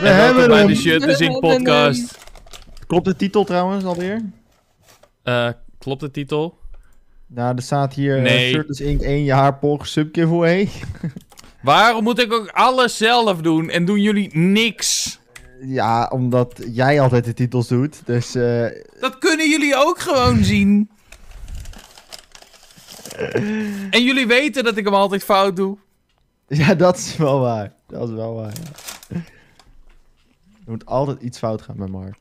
We hebben bij hem. de Shit is Inc. podcast. Klopt de titel trouwens alweer? Eh, klopt de titel? Nou, er staat hier eh, Nee. Shirtless Ink 1, je haarpog, subgiveaway. Waarom moet ik ook alles zelf doen en doen jullie niks? Ja, omdat jij altijd de titels doet. Dus eh, Dat kunnen jullie ook gewoon zien. En jullie weten dat ik hem altijd fout doe. ja, dat is wel waar. Dat is wel waar. ja. Er moet altijd iets fout gaan met Mark.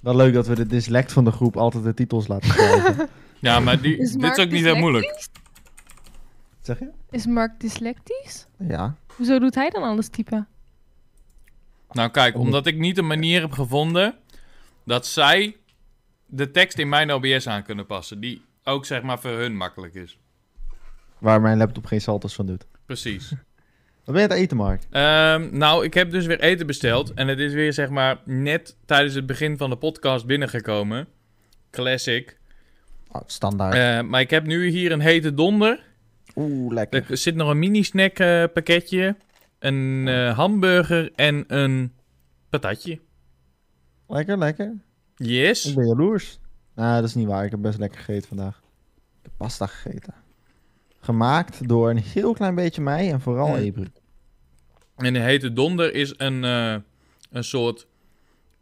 Wel leuk dat we de dyslect van de groep altijd de titels laten schrijven. Ja, maar die, Is dit Mark is ook niet heel dyslectisch? moeilijk. zeg je? Is Mark dyslectisch? Ja. Hoezo doet hij dan alles typen? Nou kijk, omdat ik niet een manier heb gevonden dat zij de tekst in mijn OBS aan kunnen passen. Die ook zeg maar voor hun makkelijk is. Waar mijn laptop geen salto's van doet. Precies. Wat ben je aan het eten, Mark? Ehm, nou, ik heb dus weer eten besteld. En het is weer, zeg maar, net tijdens het begin van de podcast binnengekomen. Classic. Oh, standaard. Eh, maar ik heb nu hier een hete donder. Oeh, lekker. Er zit nog een mini-snack eh, pakketje. Een eh, hamburger en een patatje. Lekker, lekker. Ik Yes. ben jaloers. Nou, dat is niet waar. Ik heb best lekker gegeten vandaag. Ik heb pasta gegeten. Gemaakt door een heel klein beetje mij en vooral Mm. Ebru. En een hete donder is een, eh, een soort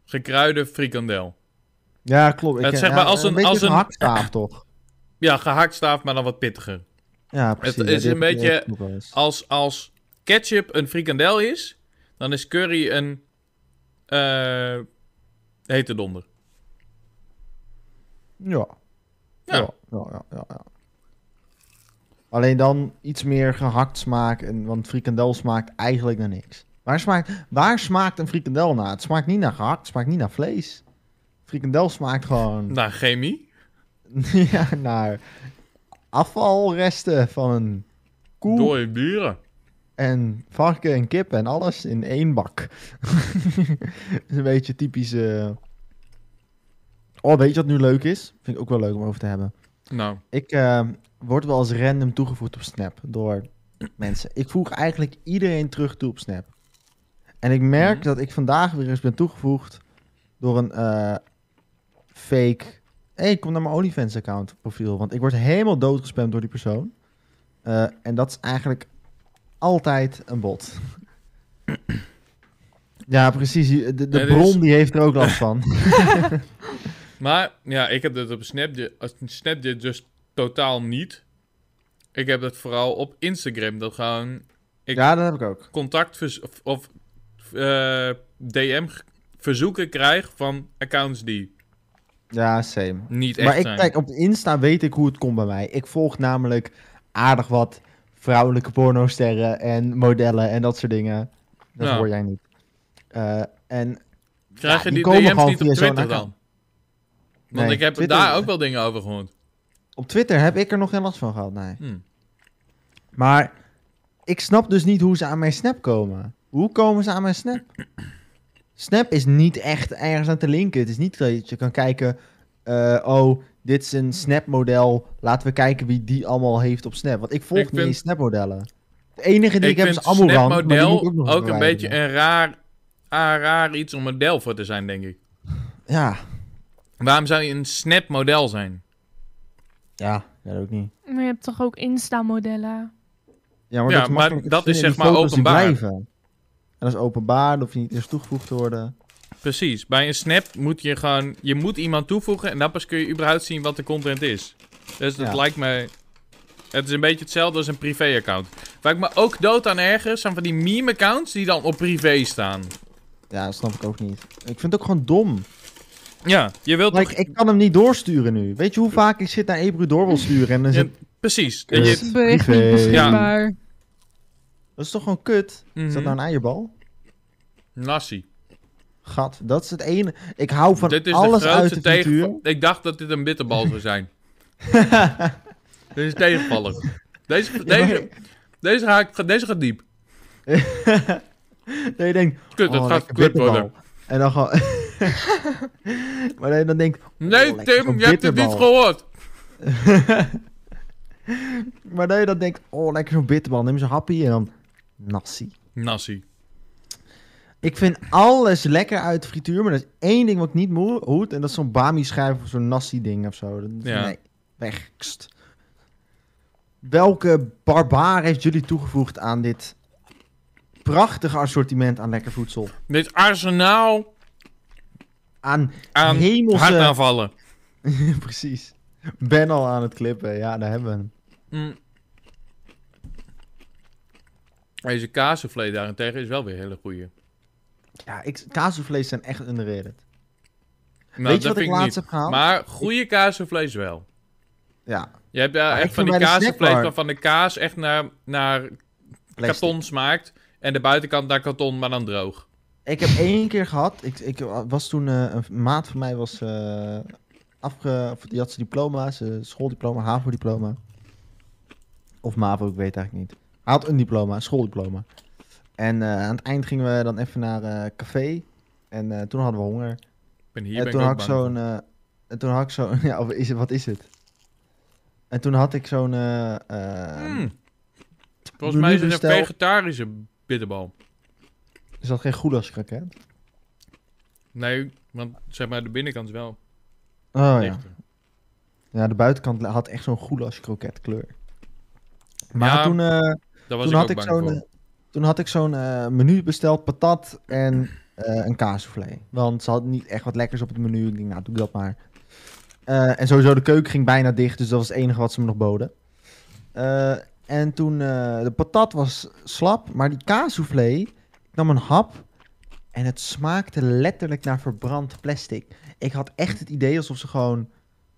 gekruide frikandel. Ja, klopt. Ik, Het eh, zeg ja, maar als een- een beetje als een- gehaktstaaf, toch? Ja, gehaktstaaf, maar dan wat pittiger. Ja, precies. is Ja, die een heb ik beetje- ook nog wel eens. Als, als ketchup een frikandel is, dan is curry een eh, hete donder. Ja. Ja. Ja. Ja, ja, ja, ja. Alleen dan iets meer gehakt smaak, en, want frikandel smaakt eigenlijk naar niks. Waar smaakt, waar smaakt een frikandel naar? Het smaakt niet naar gehakt, het smaakt niet naar vlees. Frikandel smaakt gewoon... Nou, chemie. Ja, naar afvalresten van een koe Dooie buren. en varken en kip en alles in één bak. Dat is een beetje typisch. eh. Oh, weet je wat nu leuk is? Vind ik ook wel leuk om over te hebben. Nou, Ik eh, word wel eens random toegevoegd op Snap door mensen. Ik voeg eigenlijk iedereen terug toe op Snap. En ik merk Mhm. dat ik vandaag weer eens ben toegevoegd door een eh, fake... Hé, hey, kom naar mijn OnlyFans account profiel. Want ik word helemaal doodgespamd door die persoon. Eh, en dat is eigenlijk altijd een bot. ja, precies. De, de Er is- bron die heeft er ook last van. maar ja, ik heb dat op Snapchat, als- Snapchat dus totaal niet. Ik heb dat vooral op Instagram. Dat gewoon Ik- Ja, dat heb ik ook. contact vers- of, of eh, DM g- verzoeken krijg van accounts die Ja, same. niet echt Maar ik, zijn. kijk, op Insta weet ik hoe het komt bij mij. Ik volg namelijk aardig wat vrouwelijke pornosterren en modellen en dat soort dingen. Dat Ja. hoor jij niet. Eh, en Krijg ja, je die die, komen DM's gewoon niet op via zo'n Twitter dan? account. Want Nee, ik heb Twitter- daar ook wel dingen over gehoord. op Twitter heb ik er nog geen last van gehad, nee. Hm. Maar ik snap dus niet hoe ze aan mijn snap komen. Hoe komen ze aan mijn snap? Snap is niet echt ergens aan te linken. Het is niet dat je kan kijken, eh, oh, dit is een snapmodel. Laten we kijken wie die allemaal heeft op snap. Want ik volg Ik niet vind- eens snapmodellen. De enige die ik, Ik heb vind is Amorant. maar die snapmodel moet ik nog ook, een verwijderen. beetje een raar, ah, raar iets om model voor te zijn, denk ik. Ja, Waarom zou je een snap model zijn? ja, dat ook niet. Maar je hebt toch ook Insta-modellen? Ja, maar Ja, dat is, maar makkelijk dat te is vinden, zeg die maar foto's die openbaar. blijven. En dat is openbaar, of je niet eerst toegevoegd te worden. Precies, bij een snap moet je gewoon... Je moet iemand toevoegen en dan pas kun je überhaupt zien wat de content is. Dus dat Ja. lijkt me... Het is een beetje hetzelfde als een privé-account. Waar ik me ook dood aan erger zijn van die meme-accounts die dan op privé staan. Ja, dat snap ik ook niet. Ik vind het ook gewoon dom. Ja, je wilt Like, ik kan hem niet doorsturen nu. Weet je hoe vaak ik zit naar Ebru door wil sturen en dan Ja, zit... precies. Kut. Je- Is Is bericht privé. niet beschikbaar. Dat is toch gewoon kut? Is dat Mhm. nou een eierbal? Nassie. Gat, dat is het ene. Ik hou van Dit is alles de uit grootste de tegen. cultuur. Ik dacht dat dit een bitterbal zou zijn. dit is tegenvaller. Deze, deze, deze, ga ik- deze gaat diep. Dat je denkt, Kut, oh, het gaat lekker kut worden. bitterbal. En dan gewoon... maar dat je dan denkt... oh, Nee, lekker Tim, zo'n je hebt het niet bitterbal. gehoord. Maar dat je dan denkt, oh, lekker zo'n bitterbal. Neem zo'n happy en dan nasi. Nassie. Ik vind alles lekker uit de frituur, maar er is één ding wat ik niet moe hoed. En dat is zo'n bami-schijf of zo'n nasi-ding of zo. Dat Ja. Nee, weg. Kst. Welke barbaar heeft jullie toegevoegd aan dit prachtige assortiment aan lekker voedsel? Dit arsenaal Aan aan hemelse... hartaanvallen. Precies. Ben al aan het klippen. Ja, daar hebben we hem. Mm. Deze kaasvlees daarentegen is wel weer een hele goeie. Ja, ik, kaasvlees zijn echt underrated. Nou, Weet je dat wat ik vind ik laatst niet. heb gehaald? Maar goede kaasvlees wel. Ja, Je hebt daar Maar echt ik van vind die bij de kaasvlees snackbar- waarvan de kaas echt naar, naar plastic. karton smaakt. En de buitenkant naar karton, maar dan droog. Ik heb één keer gehad. Ik, ik was toen eh, een maat van mij was eh, afge, of die had zijn diploma's, eh, schooldiploma, HAVO-diploma. Of MAVO, ik weet het eigenlijk niet. Hij had een diploma, een schooldiploma. En eh, aan het eind gingen we dan even naar eh café. En eh, toen hadden we honger. Ik ben hier En ben toen, ik had ook ik bang. zo'n, eh, en toen had ik zo'n. Ja, of is het, wat is het? En toen had ik zo'n. eh, eh, Mm. Volgens mij is het een menuverstel- vegetarische bitterbal. Er zat geen Oh, goulaschkraket. Nee, want zeg maar de binnenkant is wel Oh ja. lichter. Ja, de buitenkant had echt zo'n goulaschkroket kleur. Maar Ja, toen, eh, Daar was toen, ik had ook ik bang zo'n, voor. eh, toen had ik zo'n eh, menu besteld, patat en eh, een kaassoufflé. Want ze had niet echt wat lekkers op het menu. Ik denk, nou, doe dat maar. Eh, en sowieso, de keuken ging bijna dicht, dus dat was het enige wat ze me nog boden. Eh, en toen, eh, de patat was slap, maar die kaassoufflé, ik nam een hap en het smaakte letterlijk naar verbrand plastic. Ik had echt het idee alsof ze gewoon Ja,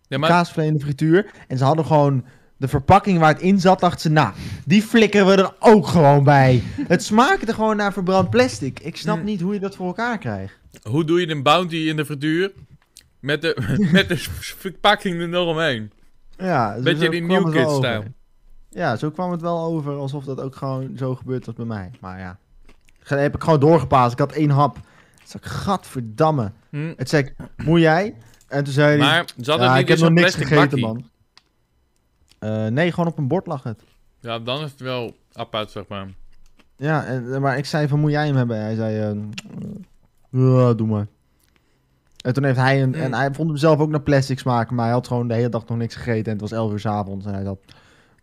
maar... maar kaasvlees in de frituur. En ze hadden gewoon de verpakking waar het in zat, dachten ze, nou, die flikkeren we er ook gewoon bij. het smaakte gewoon naar verbrand plastic. Ik snap Mm. niet hoe je dat voor elkaar krijgt. hoe doe je een bounty in de frituur? Met de, met de verpakking er nog omheen. Ja, zo- Beetje Dus zo die kwam New het wel Kids over. stijl. Ja, zo kwam het wel over, alsof dat ook gewoon zo gebeurd was bij mij. Maar ja, Ge- heb ik gewoon doorgepaasd. Ik had één hap. Toen zei ik, gadverdamme. Hm. Het zei ik, moet jij? En toen zei hij, Maar zat het Hmm. ja, ik niet in heb nog zo'n niks plastic gegeten, bakkie? man. Eh, nee, gewoon op een bord lag het. Ja, dan is het wel apart, zeg maar. Ja, en, eh, maar ik zei van, moet jij hem hebben? Hij zei, eh, "Mm, ja, doe maar. En toen heeft hij, een, Mm. en hij vond hem zelf ook naar plastic smaken, maar hij had gewoon de hele dag nog niks gegeten en het was 11 uur 's avonds. En hij dacht,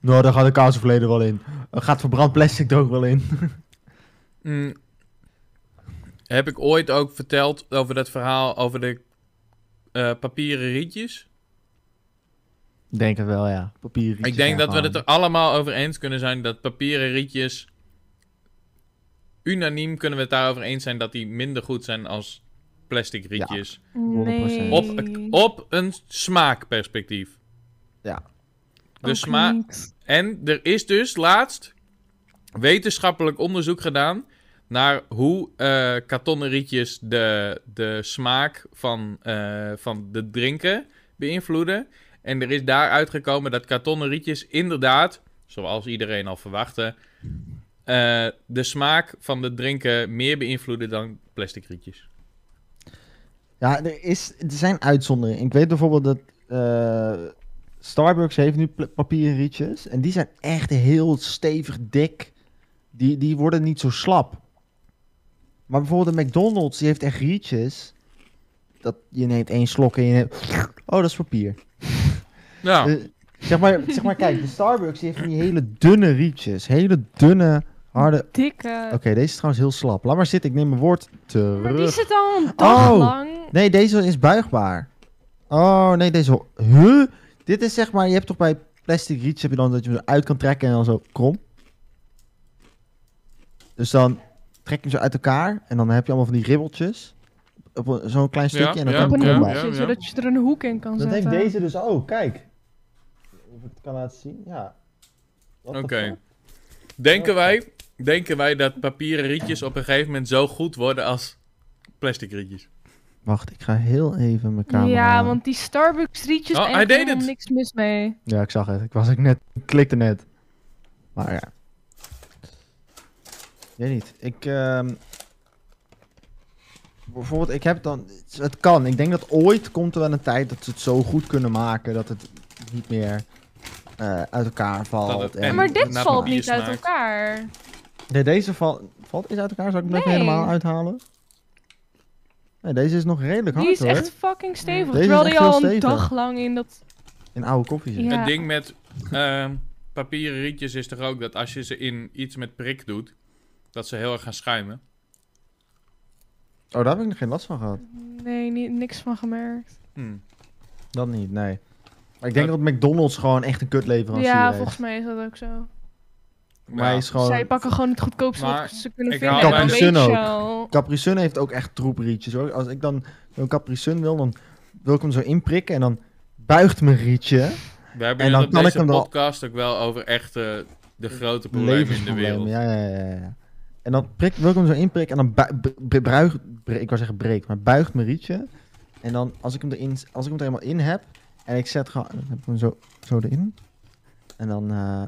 nou, daar gaat de kaasverleden wel in. Er gaat verbrand plastic er ook wel in. Mm. Heb ik ooit ook verteld over dat verhaal over de eh, papieren rietjes? Ik Denk het wel, ja. Papier. Ik denk dat we het er allemaal over eens kunnen zijn dat papieren rietjes... Unaniem kunnen we het daarover eens zijn dat die minder goed zijn als plastic rietjes. 100%. Nee. Op, op een smaakperspectief. de Ook smaak- niet. En er is dus laatst wetenschappelijk onderzoek gedaan naar hoe eh kartonnen rietjes de, de smaak van, eh, van de drinken beïnvloeden. En er is daar uitgekomen dat kartonnen rietjes inderdaad, zoals iedereen al verwachtte, eh, de smaak van de drinken meer beïnvloeden dan plastic rietjes. Ja, er, is, er zijn uitzonderingen. Ik weet bijvoorbeeld dat eh, Starbucks heeft nu pl- papieren rietjes. En die zijn echt heel stevig dik. Die, die worden niet zo slap. Maar bijvoorbeeld de McDonald's, die heeft echt rietjes. Dat, je neemt één slok en je neemt... Oh, dat is papier. Ja, Eh, zeg, maar, zeg maar, kijk, de Starbucks die heeft van die hele dunne rietjes. Hele dunne, harde... Dikke. Oké, deze is trouwens heel slap. Laat maar zitten, ik neem mijn woord terug. Maar die zit al een dag Oh. lang. Nee, deze is buigbaar. Oh, nee, deze... Huh? Dit is zeg maar... Je hebt toch bij plastic rietjes heb je dan dat je hem zo uit kan trekken en dan zo krom. Dus dan trek je hem zo uit elkaar en dan heb je allemaal van die ribbeltjes. Op een- zo'n klein stukje en dan ja, op kan een je ja, krom hoekje, uit. ja. zodat je er een hoek in kan Dat heeft zetten. deze dus ook, kijk. Of ik het kan laten zien, ja. What oké. the fuck? Denken wij... Denken wij dat papieren rietjes op een gegeven moment zo goed worden als plastic rietjes? Wacht, ik ga heel even mijn camera... Ja, want die Starbucks rietjes Oh, en hij deed helemaal het. niks mis mee. Ja, ik zag het. Ik was ik net... Ik klikte net. Maar ja. Ik weet niet. Ik... ehm, bijvoorbeeld, ik heb dan... Het kan. Ik denk dat ooit komt er wel een tijd dat ze het zo goed kunnen maken dat het niet meer eh, uit elkaar valt. het- en- en- Ja, maar dit naar valt papier niet uit smaakt. elkaar. Nee, deze val- valt is uit elkaar. Zou ik hem even Nee. helemaal uithalen? Nee, deze is nog redelijk Die hard is hoor. echt fucking stevig. Deze is terwijl die echt heel al een stevig. dag lang in dat... In oude koffie zit. Ja. Het ding met ehm, papieren rietjes is toch ook dat als je ze in iets met prik doet, dat ze heel erg gaan schuimen. Oh, daar heb ik nog geen last van gehad. Nee, ni- niks van gemerkt. Hm. Dat niet, nee. Maar ik denk dat McDonald's gewoon echt een kutleverancier Ja, heeft. volgens mij is dat ook zo. mij Ja. is gewoon... Zij pakken gewoon het goedkoopste Maar wat ze kunnen ik vinden. haal en dan bij weet de- je Sun ook. wel. Capri Sun heeft ook echt troeprietjes hoor. Als ik dan een Capri Sun wil, dan wil ik hem zo inprikken en dan buigt mijn rietje. We hebben En het dan op kan ik deze hem wel- podcast ook wel over echt eh, de grote problemen in de wereld. Levensproblemen, ja, ja, ja, ja. En dan prik, wil ik hem zo inprikken en dan bui- b- b- bruigt, bre- ik wou zeggen breekt, maar buigt mijn rietje. En dan als ik hem, erin, als ik hem er helemaal in heb en ik zet gewoon, dan heb ik hem zo, zo erin. En dan eh,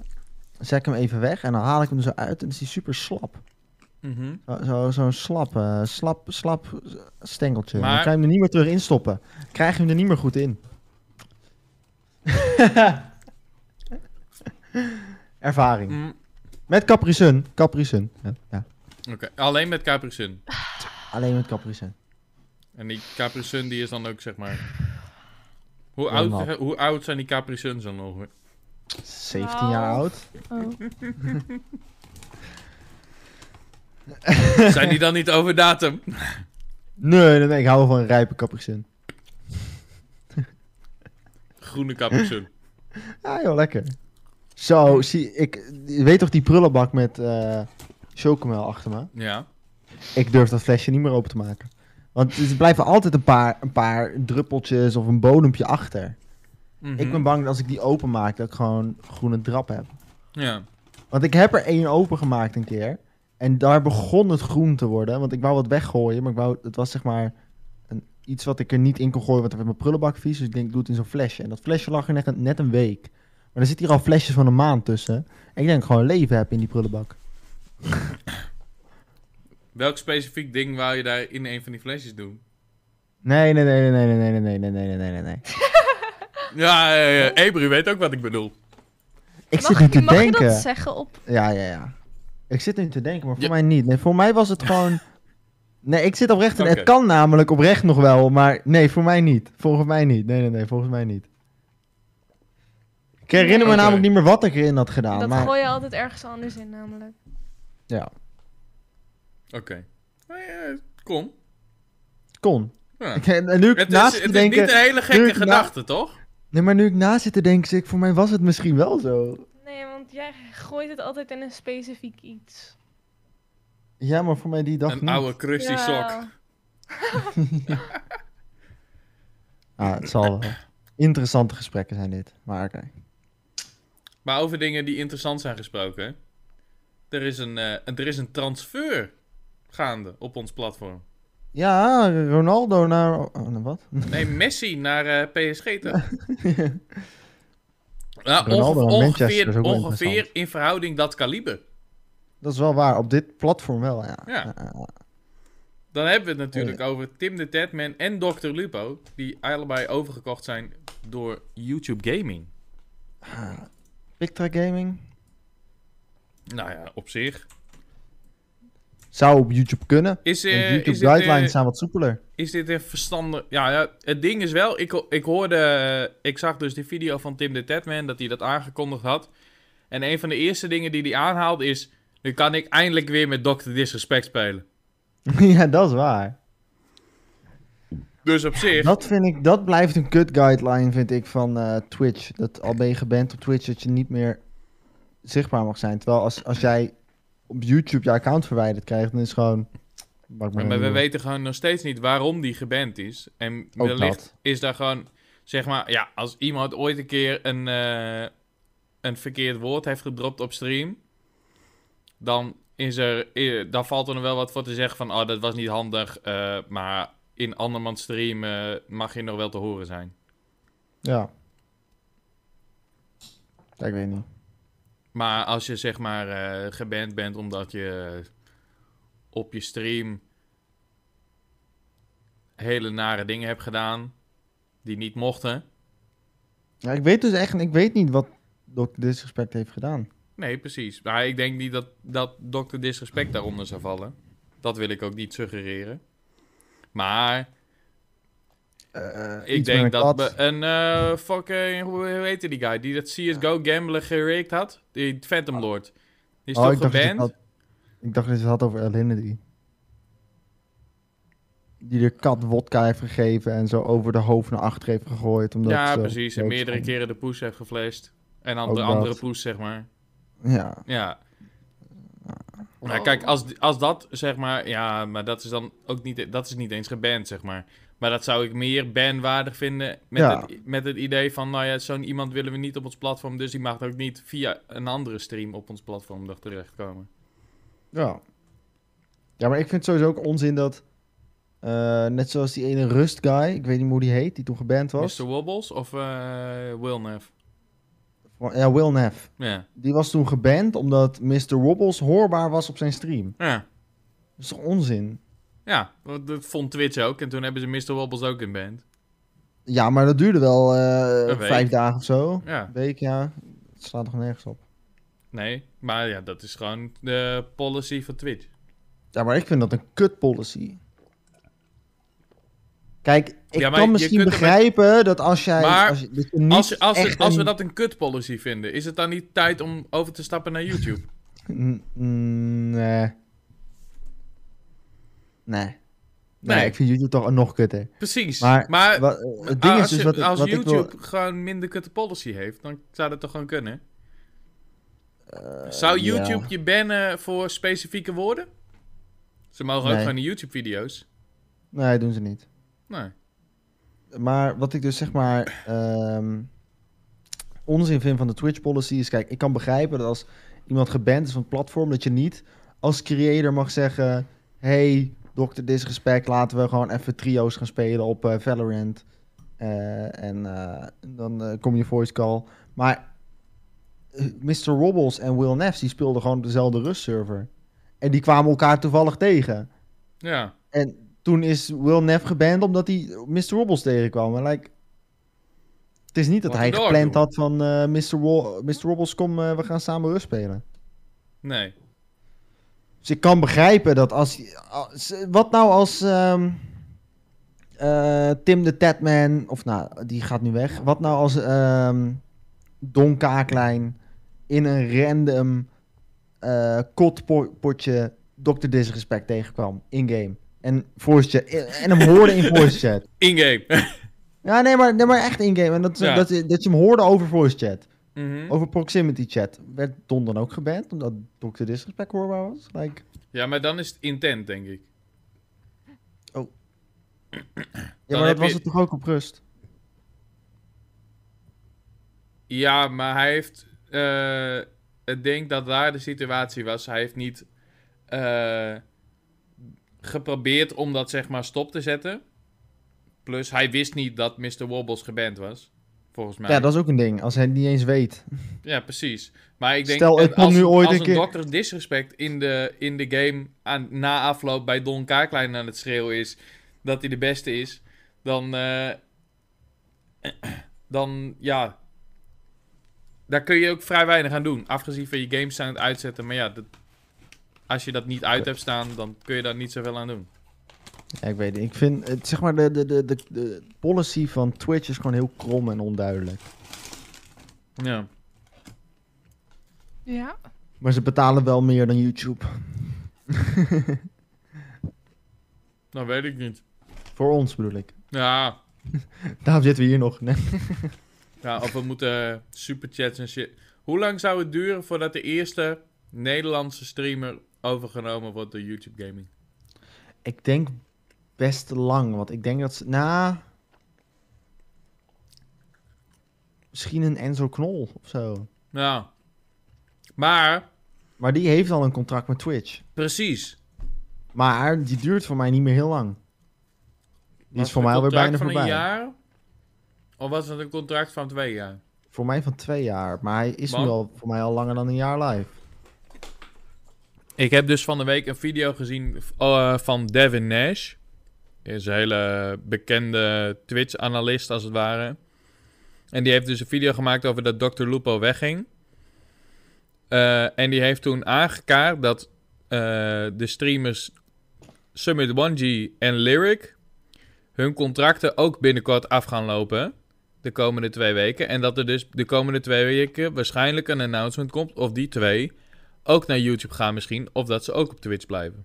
zet ik hem even weg en dan haal ik hem er zo uit en dan is hij super slap. Mhm. Zo'n zo, zo'n slap, eh, slap, slap stengeltje. Maar- Dan kan je hem er niet meer terug instoppen. Krijg je hem er niet meer goed in. Ervaring. Mm, Met Capri Sun. Capri Sun. Ja, ja. Oké, alleen met Capri Sun. Alleen met Capri Sun. En die Capri Sun die is dan ook zeg maar... Hoe Helemaal. oud, hoe oud zijn die Capri Suns dan ongeveer? 17 jaar oud. Oh. Zijn die dan niet over datum? Nee, nee, nee, ik hou wel van een rijpe Capri Sun. Groene Capri Sun. Ah joh, lekker. Zo, zie, ik, je weet toch die prullenbak met eh chocomel achter me? Ja. ik durf dat flesje niet meer open te maken. Want er blijven altijd een paar, een paar druppeltjes of een bodempje achter. Mhm. Ik ben bang dat als ik die openmaak, dat ik gewoon groene drap heb. Ja. Want ik heb er één opengemaakt een keer. En daar begon het groen te worden. Want ik wou wat weggooien, maar ik wou, het was zeg maar een, iets wat ik er niet in kon gooien. Want ik heb mijn prullenbak vies. Dus ik denk, ik doe het in zo'n flesje. En dat flesje lag er net, net een week. Maar er zitten hier al flesjes van een maand tussen. En ik denk dat ik gewoon leven heb in die prullenbak. Welk specifiek ding wou je daar in een van die flesjes doen? Nee, nee, nee, nee, nee, nee, nee, nee, nee, nee, nee, nee, nee. Ja, ja, ja. Ebru weet ook wat ik bedoel. Ik mag zit nu te mag denken. je dat zeggen op... Ja, ja, ja. Ik zit nu te denken, maar voor Ja. mij niet. Nee, voor mij was het gewoon. Nee, ik zit oprecht. in. Oké. Het kan namelijk oprecht nog wel, maar nee, voor mij niet. Volgens mij niet. Nee, nee, nee, volgens mij niet. Ik herinner me Oké. namelijk niet meer wat ik erin had gedaan. dat maar... gooi je altijd ergens anders in namelijk. Ja, Oké. Nou ja, kom. kon. Ja. Ik- En nu ik Het, naast zit is, het te is niet denken. een hele nu gekke ik na- gedachte, toch? Nee, maar nu ik na zit te denken, zeg ik, voor mij was het misschien wel zo. Nee, want jij gooit het altijd in een specifiek iets. Ja, maar voor mij die dag Een niet. oude crusty sok. Ah, het zal wel. Interessante gesprekken zijn dit. Maar oké. Maar over dingen die interessant zijn gesproken. Er is een, eh, er is een transfer gaande op ons platform. Ja, Ronaldo naar. Oh, naar wat? Nee, Messi naar eh, PSG toch? Nou, Ronaldo onge- naar Manchester is ongeveer, ook wel ongeveer interessant. in verhouding dat kaliber. Dat is wel waar. Op dit platform wel, ja. Ja. Ja, ja, ja. Dan hebben we het Oh, natuurlijk over Tim de Tedman en Dr. Lupo. Die allebei overgekocht zijn door YouTube Gaming. Pictra Gaming. Nou ja, op zich. Zou op YouTube kunnen. Is, Want eh, YouTube is, dit, guidelines eh, zijn wat soepeler. is dit een verstandig... Ja, ja, het ding is wel... Ik, ho- ik hoorde... eh, Ik zag dus die video van Tim de Tedman dat hij dat aangekondigd had. En een van de eerste dingen die hij aanhaalt is... Nu kan ik eindelijk weer met Dr. Disrespect spelen. ja, dat is waar. Dus op zich... Dat vind ik, dat blijft een kut guideline, vind ik, van eh, Twitch. Dat al ben je geband op Twitch, dat je niet meer zichtbaar mag zijn. Terwijl als, als jij op YouTube je account verwijderd krijgt, dan is het gewoon... Maak Maar, een we nieuwe. weten gewoon nog steeds niet waarom die geband is. En Ook wellicht dat. is daar gewoon, zeg maar, ja, als iemand ooit een keer een, eh, een verkeerd woord heeft gedropt op stream, dan, is er, eh, dan valt er nog wel wat voor te zeggen van, oh, dat was niet handig, eh, maar in andermans stream eh, mag je nog wel te horen zijn. Ja. Ja, ik weet niet. Maar als je zeg maar eh, geband bent omdat je op je stream hele nare dingen hebt gedaan die niet mochten. Ja, ik weet dus echt, ik weet niet wat Doc Disrespect heeft gedaan. Nee, precies. Maar ik denk niet dat, dat Dr. Disrespect daaronder zou vallen. Dat wil ik ook niet suggereren. Maar Eh, ik iets met een denk dat kat. be- een eh, fucking, hoe hoe heette die guy? Die dat CSGO gambler gerikt had? Die Phantom Lord. Die is Ah. Oh, toch ik dacht dat je het geband? had- Ik dacht dat je het had over Alinity. Die de kat wodka heeft gegeven en zo over de hoofd naar achter heeft gegooid. Omdat Ja, ze- precies. En leuk meerdere vond. keren de poes heeft geflasht. En dan eh, Ook de dat. andere poes, zeg maar. Ja, Ja. Nou, kijk, als, als dat zeg maar. Ja, maar dat is dan ook niet. Dat is niet eens geband, zeg maar. Maar dat zou ik meer banwaardig vinden. Met, Ja. het, met het idee van. Nou ja, zo'n iemand willen we niet op ons platform. Dus die mag ook niet via een andere stream op ons platform nog terechtkomen. ja. Ja, maar ik vind het sowieso ook onzin dat... eh, net zoals die ene Rust guy, ik weet niet meer hoe die heet, die toen geband was. Mr. Wobbles of eh Wilnev? Ja, Will Neff. Ja. Die was toen geband omdat Mr. Wobbles hoorbaar was op zijn stream. Ja. Dat is toch onzin? Ja, want dat vond Twitch ook. En toen hebben ze Mr. Wobbles ook in band. Ja, maar dat duurde wel eh, Een week. vijf dagen of zo. Ja. Een week, ja. Het slaat toch nergens op. Nee, maar ja, dat is gewoon de policy van Twitch. Ja, maar ik vind dat een kut policy. Kijk, ik Ja, maar kan je misschien kunt er met- begrijpen dat als jij... Maar als, je, dat je niet Als, als, als, echt we een- dat een kut policy vinden, is het dan niet tijd om over te stappen naar YouTube? Mm, mm, nee. nee. Nee. Nee. ik vind YouTube toch nog kutter. Precies. Maar, Maar Wa- het ding eh, als, is dus je- wat, ik- als wat YouTube ik wil... gewoon minder kutte policy heeft, dan zou dat toch gewoon kunnen? zou Eh, ja. YouTube je bannen voor specifieke woorden? Ze mogen ook Nee. gewoon de YouTube-video's. Nee, doen ze niet. Nee. Maar wat ik dus zeg maar ehm, onzin vind van de Twitch policy is, kijk, ik kan begrijpen dat als iemand geband is van het platform, dat je niet als creator mag zeggen, hey, Dr. Disrespect, laten we gewoon even trio's gaan spelen op eh, Valorant. Eh, en eh, dan eh, kom je voice call. Maar eh, Mr. Robles en Will Neff, die speelden gewoon op dezelfde rustserver. En die kwamen elkaar toevallig tegen. Ja. En toen is Will Neff geband omdat hij Mr. Wobbles tegenkwam. En like, het is niet dat Wat hij een dog, gepland jongen. had van eh, Mr. Wo- Mr. Wobbles, kom, eh, we gaan samen rust spelen. Nee. Dus ik kan begrijpen dat als... als- wat nou als ehm, eh, Tim de Tatman, of nou, die gaat nu weg. Wat nou als ehm, Don Kaaklijn in een random eh, kotpotje Dr. Disrespect tegenkwam in-game. En, voice chat, en hem hoorde in voice chat. In-game. Ja, nee, maar, nee, maar echt in-game. En dat, Ja. dat, dat je hem hoorde over voice chat. Mhm. Over proximity chat. Werd Don dan ook geband, omdat Dr. Disrespect hoorbaar was? Like, Ja, maar dan is het intent, denk ik. ja, Dan maar heb dat was je- het toch ook op rust? Ja, maar hij heeft. eh, ik denk dat daar de situatie was. Hij heeft niet eh, geprobeerd om dat zeg maar stop te zetten. Plus, hij wist niet dat Mr. Wobbles geband was. Volgens mij. Ja, dat is ook een ding. Als hij het niet eens weet. Ja, precies. Maar ik denk Stel, ik en kom als, nu ooit als een keer- dokter disrespect in de, in de game aan, na afloop bij Don Kaaklijn aan het schreeuwen is dat hij de beste is, dan. eh, dan ja. Daar kun je ook vrij weinig aan doen. Afgezien van je games aan het uitzetten. Maar ja, dat, als je dat niet uit hebt staan, dan kun je daar niet zoveel aan doen. Ja, ik weet het. Ik vind, het, zeg maar, de, de, de, de, de policy van Twitch is gewoon heel krom en onduidelijk. Ja. Ja. Maar ze betalen wel meer dan YouTube. Dat weet ik niet. Voor ons bedoel ik. Ja. Daarom zitten we hier nog. Nee. Ja, of we moeten superchats en shit. Hoe lang zou het duren voordat de eerste Nederlandse streamer overgenomen wordt door YouTube Gaming? Ik denk best lang, want ik denk dat ze... Na... Misschien een Enzo Knol of zo. Nou. Maar, Maar die heeft al een contract met Twitch. precies. Maar die duurt voor mij niet meer heel lang. Die Was is voor het mij een alweer bijna contract van voorbij. een jaar? Of was het een contract van twee jaar? Voor mij van twee jaar. Maar hij is Want- nu al voor mij al langer dan een jaar live. Ik heb dus van de week een video gezien eh, van Devin Nash. Hij is een hele bekende Twitch-analyst, als het ware. En die heeft dus een video gemaakt over dat Dr. Lupo wegging. Eh, en die heeft toen aangekaart dat eh, de streamers Summit 1G en Lyric hun contracten ook binnenkort af gaan lopen. De komende twee weken. En dat er dus de komende twee weken waarschijnlijk een announcement komt of die twee ook naar YouTube gaan misschien. Of dat ze ook op Twitch blijven.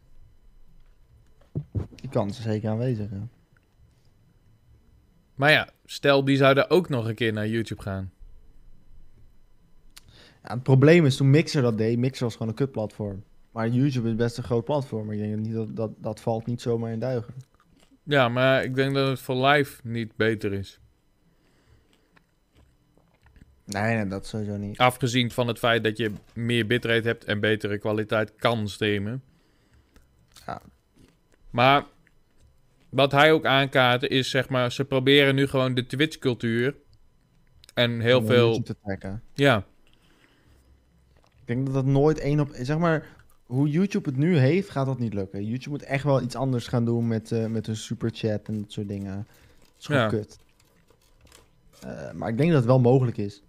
Die kans is zeker aanwezig. ja. Maar ja, stel die zouden ook nog een keer naar YouTube gaan. Ja, het probleem is, toen Mixer dat deed, Mixer was gewoon een kutplatform. Maar YouTube is best een groot platform. Ik denk dat niet dat, dat, dat valt niet zomaar in duigen. Ja, maar ik denk dat het voor live niet beter is. Nee, nee, dat sowieso niet. Afgezien van het feit dat je meer bitrate hebt en betere kwaliteit kan streamen. Ja. Maar wat hij ook aankaart is zeg maar, ze proberen nu gewoon de Twitch cultuur en heel Om veel, YouTube te trekken. ja, Ik denk dat dat nooit één op... Zeg maar, hoe YouTube het nu heeft, gaat dat niet lukken. YouTube moet echt wel iets anders gaan doen met, eh met hun superchat en dat soort dingen. Dat is gewoon Ja. kut. Eh, maar ik denk dat het wel mogelijk is.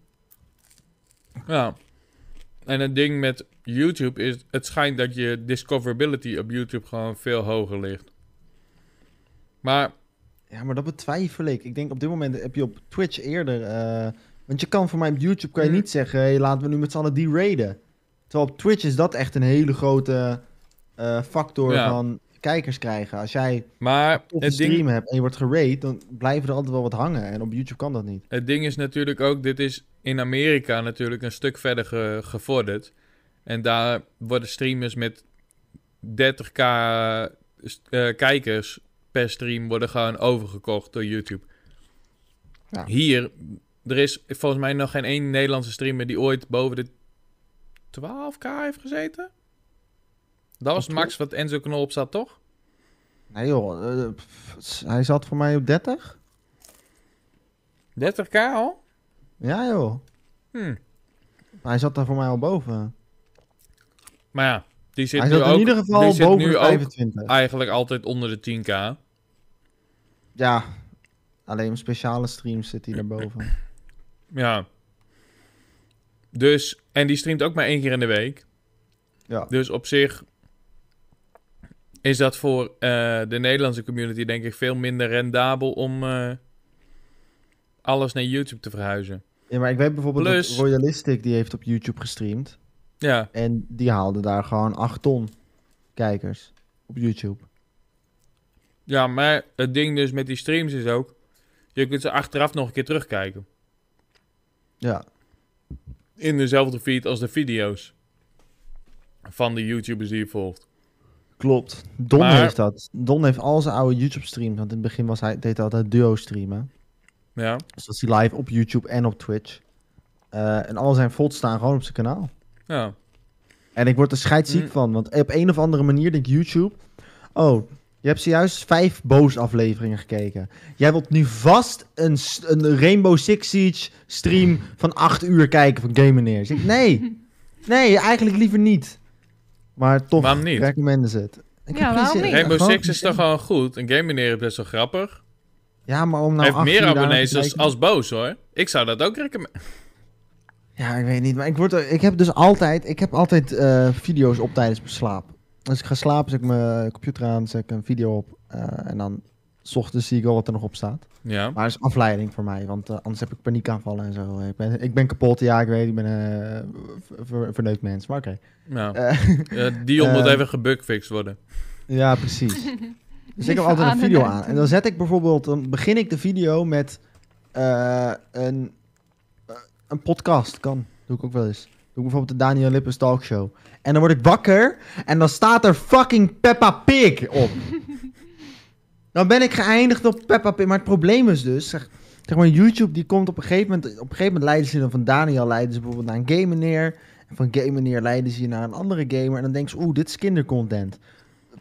ja. En het ding met YouTube is, het schijnt dat je discoverability op YouTube gewoon veel hoger ligt. Maar Ja, maar dat betwijfel ik. Ik denk op dit moment heb je op Twitch eerder. eh, want je kan voor mij op YouTube kan je Mm. niet zeggen: hey, laten we nu met z'n allen die raiden. Terwijl op Twitch is dat echt een hele grote eh, factor Ja. van kijkers krijgen. Als jij Maar een het stream ding, hebt en je wordt geraid, dan blijven er altijd wel wat hangen. En op YouTube kan dat niet. het ding is natuurlijk ook, dit is in Amerika natuurlijk een stuk verder ge- gevorderd. En daar worden streamers met 30k st- eh, kijkers per stream worden gewoon overgekocht door YouTube. Ja. Hier, er is volgens mij nog geen één Nederlandse streamer die ooit boven de 12k heeft gezeten. Dat was Op max wat Enzo Knol op zat, toch? Nee joh, eh, pff, s- hij zat voor mij op 30. 30k al? Ja joh, Hm. hij zat daar voor mij al boven. Maar ja, die zit hij nu zat ook... in ieder geval die zit boven nu de ook 25. eigenlijk altijd onder de 10k. Ja, alleen op speciale streams zit hij daarboven. Ja. Dus, en die streamt ook maar één keer in de week. Ja. Dus op zich is dat voor eh, de Nederlandse community denk ik veel minder rendabel om eh, alles naar YouTube te verhuizen. Ja, maar ik weet bijvoorbeeld Plus- dat Royalistic die heeft op YouTube gestreamd. Ja, En die haalde daar gewoon 8 ton kijkers op YouTube. ja, maar het ding dus met die streams is ook, je kunt ze achteraf nog een keer terugkijken. Ja, In dezelfde feed als de video's van de YouTubers die je volgt. klopt. Don Maar- heeft dat. Don heeft al zijn oude YouTube streams. Want in het begin was hij, deed hij altijd duo streamen. Ja. Dus dat is hij live op YouTube en op Twitch. Eh, en al zijn VODs staan gewoon op zijn kanaal. ja. En ik word er scheidsziek Mm. van. Want op een of andere manier denkt YouTube... Oh, je hebt zojuist vijf Boos afleveringen gekeken. Jij wilt nu vast een, s- een Rainbow Six Siege stream van acht uur kijken van Game Meneer. Ik zeg, nee. Nee, eigenlijk liever niet. Maar toch Waarom niet? recommenden ze het. Ik Ja, heb geen waarom zin. niet? Rainbow Gewoon- Six is toch gewoon goed. En Game Meneer is best wel grappig. Ja, maar om nou Heeft acht meer uur daar abonnees te als, kijken- als Boos hoor. Ik zou dat ook recommenderen. Ja, ik weet niet. Maar ik, word, er- ik heb dus altijd, ik heb altijd eh, video's op tijdens mijn slaap. Als ik ga slapen, zet ik mijn computer aan, zet ik een video op. eh, en dan s ochtends zie ik al wat er nog op staat. Ja. Maar dat is afleiding voor mij, want eh, anders heb ik paniekaanvallen en zo. Ik ben, ik ben kapot, ja, ik weet, ik ben een verneukt mens. Maar oké. Nou, Eh, eh, Dion moet eh, even gebugfixed worden. ja, precies. Dus ik heb Liever altijd aan een en video uit aan. doen. En dan zet ik bijvoorbeeld, dan begin ik de video met eh, een, eh, een podcast. Kan, doe ik ook wel eens. Doe ik bijvoorbeeld de Daniel Lippens talkshow. En dan word ik wakker en dan staat er fucking Peppa Pig op. dan ben ik geëindigd op Peppa Pig. Maar het probleem is dus, zeg, zeg maar, YouTube die komt op een gegeven moment, op een gegeven moment leiden ze dan van Daniel leiden ze bijvoorbeeld naar een gamer neer. En van gamer neer leiden ze je naar een andere gamer. En dan denken ze, oeh, dit is kindercontent.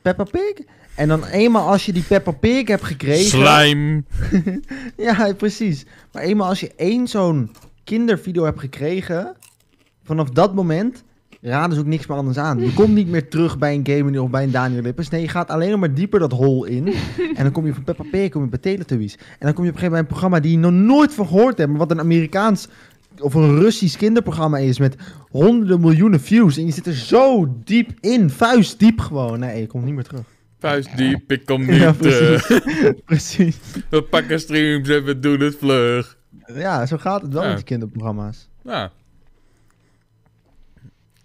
Peppa Pig? En dan eenmaal als je die Peppa Pig hebt gekregen... Slime. Ja, precies. Maar eenmaal als je één zo'n kindervideo hebt gekregen, vanaf dat moment raden ze ook niks meer anders aan. Je komt niet meer terug bij een Game of bij een Daniel Lippers. Nee, je gaat alleen nog maar dieper dat hol in. En dan kom je van Peppa Pig, kom je bij Teletubbies. En dan kom je op een gegeven moment bij een programma die je nog nooit van gehoord hebt. maar Wat een Amerikaans of een Russisch kinderprogramma is met honderden miljoenen views. En je zit er zo diep in, vuistdiep gewoon. Nee, je komt niet meer terug. Vuist diep, ik kom niet eh. Ja, terug. precies. precies. We pakken streams en we doen het vlug. Ja, zo gaat het wel Ja. met die kinderprogramma's. Nou,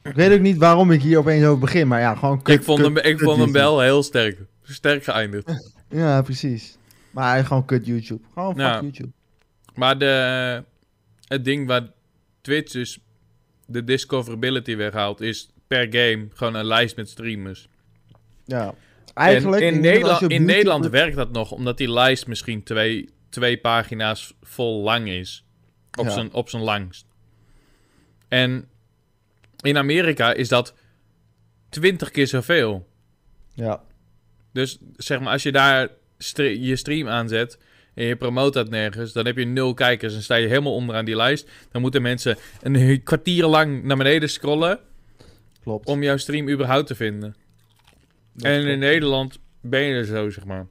Ik weet ook niet waarom ik hier opeens over begin, maar ja, gewoon kut, ik vond kut, hem, ik kut vond hem YouTube. wel heel sterk. Sterk geëindigd. Ja, precies. Maar gewoon kut YouTube. Gewoon fuck Ja. YouTube. Maar de, het ding waar Twitch dus de discoverability weghaalt, is per game gewoon een lijst met streamers. Ja. En ik in, denk dat als Nederland, je op in YouTube- Nederland werkt dat nog, omdat die lijst misschien twee, twee pagina's vol lang is. Op Ja. zijn- op zijn langst. En in Amerika is dat twintig keer zoveel. Ja. Dus zeg maar, als je daar stre- je stream aanzet en je promoot dat nergens, dan heb je nul kijkers en sta je helemaal onderaan die lijst. Dan moeten mensen een kwartier lang naar beneden scrollen Klopt. om jouw stream überhaupt te vinden. Dat en klopt. in Nederland ben je er zo, zeg maar.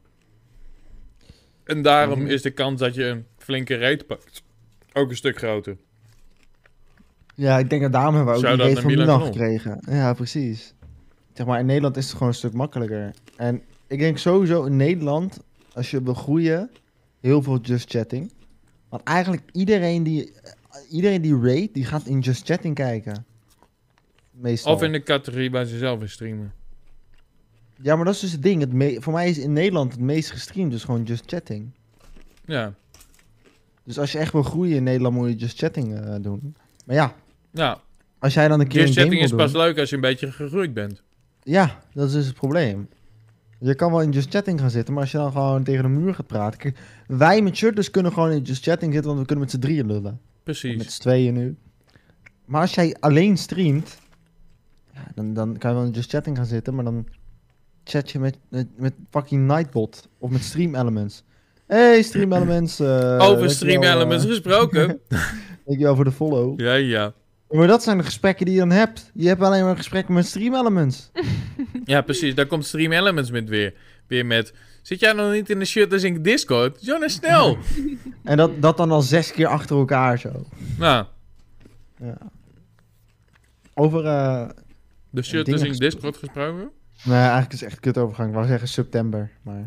En daarom Mhm. is de kans dat je een flinke reet pakt ook een stuk groter. Ja, ik denk dat daarom hebben we ook Shout-out die reet naar van Milan Milan Knol. gekregen. Ja, precies. Zeg maar, in Nederland is het gewoon een stuk makkelijker. En ik denk sowieso in Nederland, als je wil groeien, heel veel just chatting. Want eigenlijk iedereen die, iedereen die rate, die gaat in just chatting kijken. Meestal. Of in de categorie waar ze zelf in streamen. Ja, maar dat is dus het ding. Het me- voor mij is in Nederland het meest gestreamd, dus gewoon just chatting. Ja. Dus als je echt wil groeien in Nederland, moet je just chatting eh, doen. Maar ja, Nou, als jij dan een keer gear een game setting wil is doen... pas leuk als je een beetje gegroeid bent. Ja, dat is dus het probleem. Je kan wel in Just Chatting gaan zitten, maar als je dan gewoon tegen de muur gaat praten. Kijk, wij met shirtless kunnen gewoon in Just Chatting zitten, want we kunnen met z'n drieën lullen. Precies. Met z'n tweeën nu. Maar als jij alleen streamt, ja, dan, dan kan je wel in Just Chatting gaan zitten, maar dan chat je met, met, met fucking Nightbot of met Stream Elements. Hey Stream Elements. eh, Over dankjewel, stream elements eh, gesproken. Dankjewel voor de follow. ja, ja. Maar dat zijn de gesprekken die je dan hebt. Je hebt alleen maar gesprekken met Stream Elements. Ja, precies. Daar komt Stream Elements met weer. Weer met... Zit jij nog niet in de shirt als in Discord? Jonas, snel! En dat, dat dan al zes keer achter elkaar zo. nou, Over, eh de shirt dingen is in gesproken. Discord gesproken. nee, eigenlijk is het echt een kutovergang. Ik wou zeggen september, maar...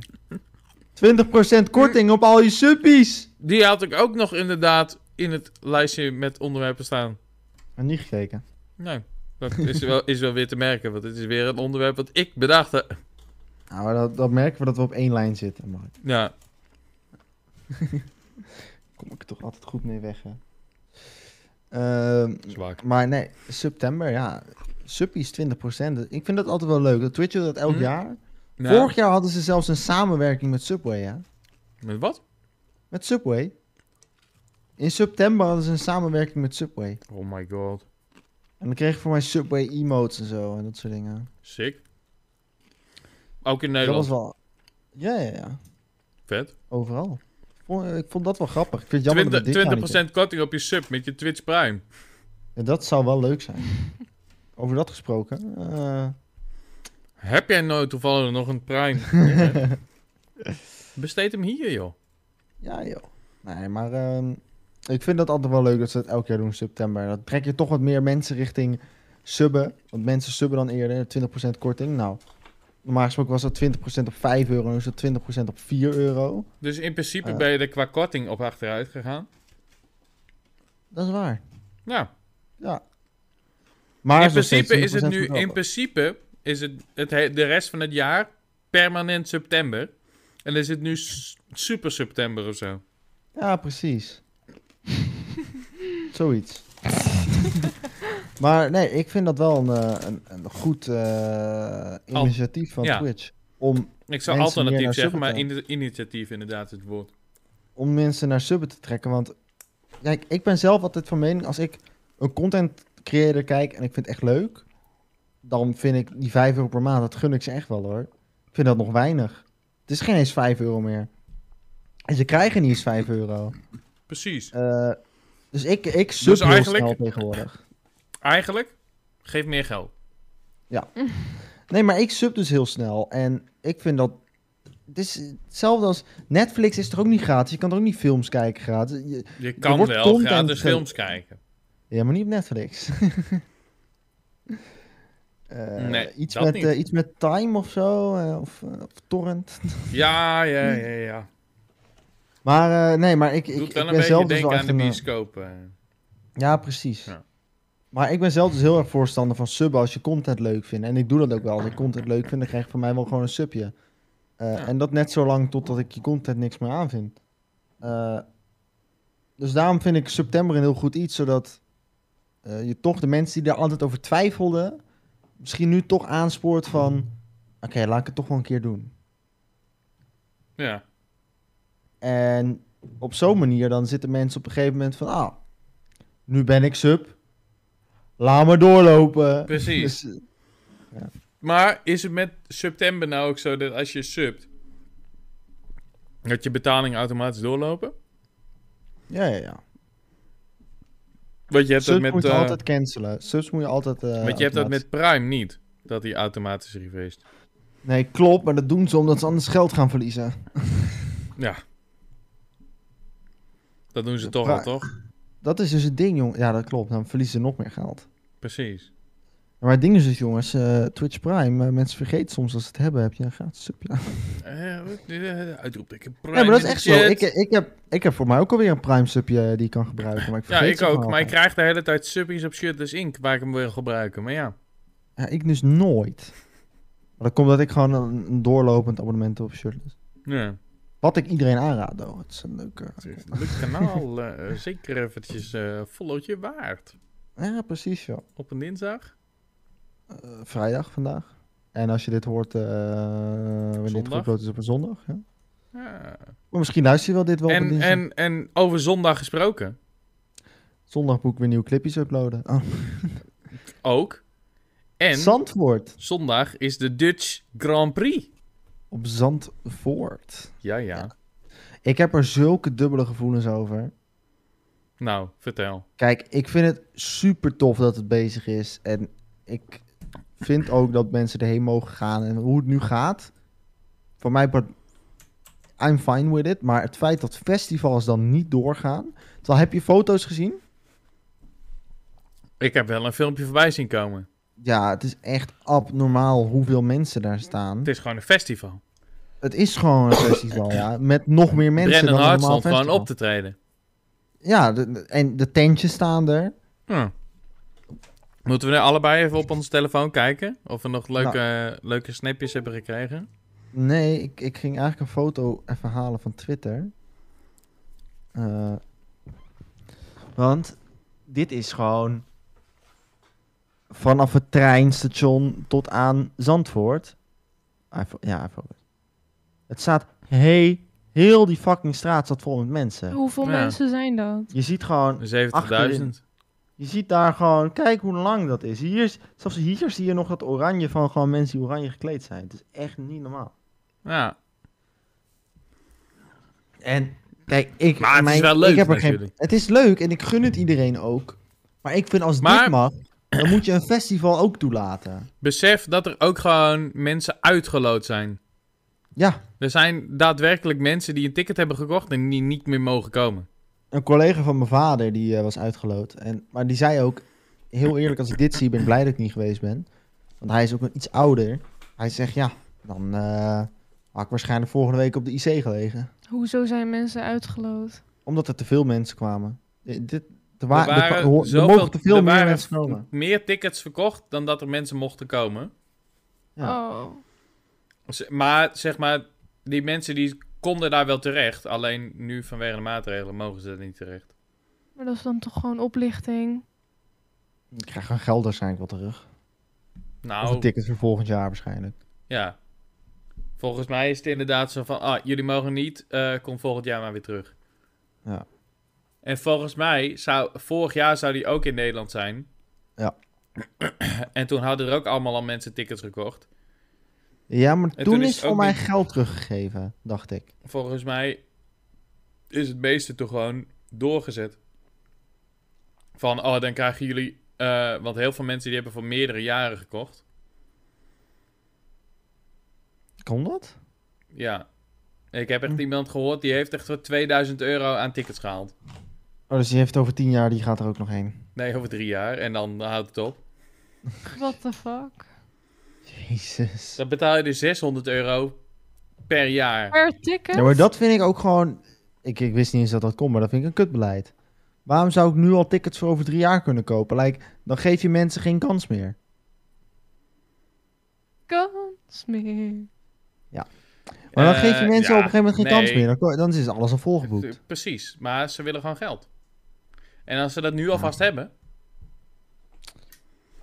20% korting op al je suppies! Die had ik ook nog inderdaad in het lijstje met onderwerpen staan. En niet gekeken. Nee, dat is wel, is wel weer te merken. Want het is weer een onderwerp wat ik bedacht heb. Nou, maar dat, dat merken we dat we op één lijn zitten, maar Ja, kom ik er toch altijd goed mee weg, hè. Ehm, zwak. maar nee, september, ja. Suppies 20%. Dus Ik vind dat altijd wel leuk. Dat Twitch doet dat elk Hm. jaar. Nou, Vorig jaar hadden ze zelfs een samenwerking met Subway, hè. Met wat? Met Subway. In september hadden ze een samenwerking met Subway. Oh my god. En dan kreeg ik voor mij Subway emotes en zo en dat soort dingen. Sick. Ook in Dat Nederland. was wel... Ja, ja, ja. Vet. Overal. Ik vond, ik vond dat wel grappig. Ik vind het jammer dat we dit jaar 20%, niet 20% korting op je sub met je Twitch Prime. hebben. Ja, dat zou wel leuk zijn. Over dat gesproken. eh, Heb jij nou toevallig nog een prime? Besteed hem hier, joh. ja, joh. Nee, maar ehm, ik vind dat altijd wel leuk dat ze dat elk jaar doen in september. Dan trek je toch wat meer mensen richting subben. Want mensen subben dan eerder. 20% korting. Nou, normaal gesproken was dat 20% op 5 euro. Nu is dat 20% op 4 euro. Dus in principe Eh. ben je er qua korting op achteruit gegaan. Dat is waar. Nou, Ja. Maar in is nog steeds principe is het 20% nu, goedkoper. in principe is het, het he- de rest van het jaar permanent september. En is het nu s- super september of zo. Ja, precies. Zoiets. maar nee, ik vind dat wel een, eh, een, een goed eh, Al- initiatief van Oh, ja. Twitch. Om, Ik Mensen zou meer alternatief naar zeggen, maar subbetal. in initiatief inderdaad het woord. om mensen naar subben te trekken. Want kijk, ik ben zelf altijd van mening, als ik een content creator kijk en ik vind het echt leuk, dan vind ik die 5 euro per maand, dat gun ik ze echt wel hoor. Ik vind dat nog weinig. Het is geen eens 5 euro meer. En ze krijgen niet eens 5 euro. Precies. Eh, dus ik, ik sub heel eigenlijk- snel tegenwoordig. Eigenlijk Geef meer geld. Nee, maar ik sub dus heel snel. En ik vind dat... Het is hetzelfde als... Netflix is toch ook niet gratis? Je kan er ook niet films kijken gratis? Je- Je Er kan wordt wel content gratis ge- films kijken. Ja, maar niet op Netflix. Eh, Nee, iets, dat met, niet. eh, iets met Time of zo, eh, of, eh, of Torrent. Ja, ja, ja, ja. Maar eh, nee, maar ik, ik, Doet ik wel een ben zelf beetje dus wel denken echt aan de een... eh, bioscoop. eh. Ja, precies. Ja. Maar ik ben zelf dus heel erg voorstander van subben als je content leuk vindt. En ik doe dat ook wel. Als ik content leuk vind, dan krijg ik van mij wel gewoon een subje. Eh, Ja. En dat net zo lang totdat ik je content niks meer aanvind. Eh, dus daarom vind ik september een heel goed iets, zodat eh, je toch de mensen die er altijd over twijfelden, misschien nu toch aanspoort van, oké, laat ik het toch wel een keer doen. Ja. En op zo'n manier dan zitten mensen op een gegeven moment van... Ah, nu ben ik sub. Laat me doorlopen. Precies. Dus, eh, Maar is het met september nou ook zo dat als je subt, dat je betalingen automatisch doorlopen? ja, ja, ja. Want je hebt Subs dat moet met, je eh, altijd cancelen. Subs moet je altijd... eh, want je hebt dat automatisch- met Prime niet, dat die automatisch refaced. Nee, klopt. Maar dat doen ze omdat ze anders geld gaan verliezen. Dat doen ze Ja, toch Prime. al, toch? Dat is dus het ding, jong. Ja, dat klopt. Dan verliezen ze nog meer geld. Precies. Maar het ding is dus, jongens, eh, Twitch Prime, eh, mensen vergeten soms als ze het hebben, heb je een gratis subje. Eh, wat- eh, Uitroep ik Prime. Nee, maar dat in is de echt zo. chat. Ik, eh, ik, heb, ik heb voor mij ook alweer een Prime subje eh, die ik kan gebruiken, maar ik ja, vergeet ik ze ook. gewoon Maar ik altijd. krijg de hele tijd subbies op Shutters Inc. waar ik hem wil gebruiken. Maar ja. Ja, ik dus nooit. Maar dat komt dat ik gewoon een, een doorlopend abonnement heb op Shirtless. ja. Wat ik iedereen aanraad, though. Het is een leuke... Het is een leuk kanaal. eh, eh, zeker eventjes eh followtje waard. Ja, precies, joh. Op een dinsdag. Eh, vrijdag vandaag. En als je dit hoort, eh wanneer dit Zondag. geüpload is op een zondag. Ja. Ja. Maar misschien luister je wel dit wel op een En, dinsdag. en, en over zondag gesproken. Zondag moet ik weer nieuwe clipjes uploaden. Oh. Ook. En Zandvoort. zondag is de Dutch Grand Prix. Op Zandvoort. Ja, ja. Ja. Ik heb er zulke dubbele gevoelens over. Nou, vertel. Kijk, ik vind het super tof dat het bezig is. En ik vind ook dat mensen erheen mogen gaan. En hoe het nu gaat, voor mij, part- I'm fine with it. Maar het feit dat festivals dan niet doorgaan. Terwijl, heb je foto's gezien? Ik heb wel een filmpje voorbij zien komen. Ja, het is echt abnormaal hoeveel mensen daar staan. Het is gewoon een festival. Het is gewoon een festival, ja. Met nog meer mensen Brennan dan een Hart normaal stond festival. gewoon op te treden. Ja, de- de- en de tentjes staan er. Hm. Moeten we nu allebei even op onze telefoon kijken? Of we nog leuke, Nou. leuke snapjes hebben gekregen? Nee, ik, ik ging eigenlijk een foto even halen van Twitter. Eh, want dit is gewoon vanaf het treinstation tot aan Zandvoort. iPhone, ja, iPhone. Het staat he heel die fucking straat staat vol met mensen. Hoeveel Ja. mensen zijn dat? Je ziet gewoon, 70.000. je ziet daar gewoon, kijk hoe lang dat is. Hier, is- zelfs hier zie je nog dat oranje van gewoon mensen die oranje gekleed zijn. Het is echt niet normaal. Ja, En kijk, ik, Maar het is wel leuk ik heb er geen, natuurlijk. het is leuk en ik gun het iedereen ook. Maar ik vind als Maar- dit mag, dan moet je een festival ook toelaten. besef dat er ook gewoon mensen uitgeloot zijn. Ja, Er zijn daadwerkelijk mensen die een ticket hebben gekocht en die niet meer mogen komen. een collega van mijn vader die eh, was uitgeloot. En, maar die zei ook, heel eerlijk, als ik dit zie, ben ik blij dat ik niet geweest ben. Want hij is ook een iets ouder. Hij zegt, ja, dan eh, had ik waarschijnlijk volgende week op de IC gelegen. Hoezo zijn mensen uitgeloot? Omdat er te veel mensen kwamen. Eh, Dit, er, Er wa- er waren kwa- er ho- er zoveel- mogen te veel er meer waren mensen komen. Meer tickets verkocht dan dat er mensen mochten komen. Oh. Z- Maar zeg maar, die mensen die konden daar wel terecht. Alleen nu vanwege de maatregelen mogen ze dat niet terecht. Maar dat is dan toch gewoon oplichting? Ik krijg gewoon geld waarschijnlijk wel terug. Of een Nou, ticket voor volgend jaar waarschijnlijk. ja. Volgens mij is het inderdaad zo van, ah, jullie mogen niet, eh, kom volgend jaar maar weer terug. Ja. En volgens mij, zou, vorig jaar zou die ook in Nederland zijn. Ja. en toen hadden er ook allemaal al mensen tickets gekocht. Ja, maar En toen, toen is is, het voor ook mij niet- geld teruggegeven, dacht ik. Volgens mij is het meeste toch gewoon doorgezet. Van, oh, dan krijgen jullie Eh, want heel veel mensen die hebben voor meerdere jaren gekocht. Kon dat? Ja. Ik heb echt Hm. iemand gehoord die heeft echt voor 2000 euro aan tickets gehaald. Oh, dus die heeft over tien jaar, die gaat er ook nog heen. Nee, over drie jaar. En dan houdt het op. What the fuck? Jezus. Dan betaal je dus 600 euro per jaar. Per ticket? Ja, maar dat vind ik ook gewoon... Ik, ik wist niet eens dat dat kon, maar dat vind ik een kutbeleid. Waarom zou ik nu al tickets voor over drie jaar kunnen kopen? Like, dan geef je mensen geen kans meer. Kans meer. Maar dan Eh, geef je mensen ja, op een gegeven moment geen kans nee. meer. Dan, ko- dan is alles al volgeboekt. Eh, Precies, maar ze willen gewoon geld. En als ze dat nu alvast hebben.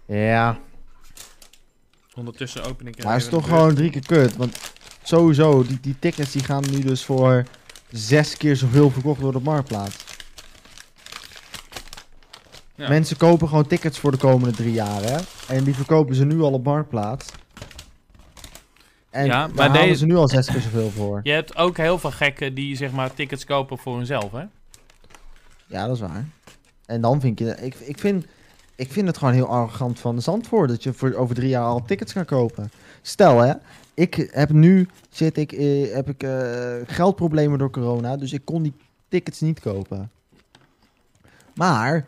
Ja, Ondertussen open ik. maar het is toch gewoon drie keer kut. Want sowieso, die, die tickets die gaan nu dus voor zes keer zoveel verkocht worden op Marktplaats. Ja. Mensen kopen gewoon tickets voor de komende drie jaar, hè? En die verkopen ze nu al op Marktplaats. En Ja, daar maar halen deze- ze nu al zes keer zoveel voor. Je hebt ook heel veel gekken die zeg maar tickets kopen voor hunzelf, hè? Ja, dat is waar. En dan vind je... Ik, ik, vind, ik vind het gewoon heel arrogant van de Zandvoort... dat je voor over drie jaar al tickets kan kopen. Stel, hè. Ik heb nu... Zit ik, eh, heb ik eh, geldproblemen door corona... dus ik kon die tickets niet kopen. Maar...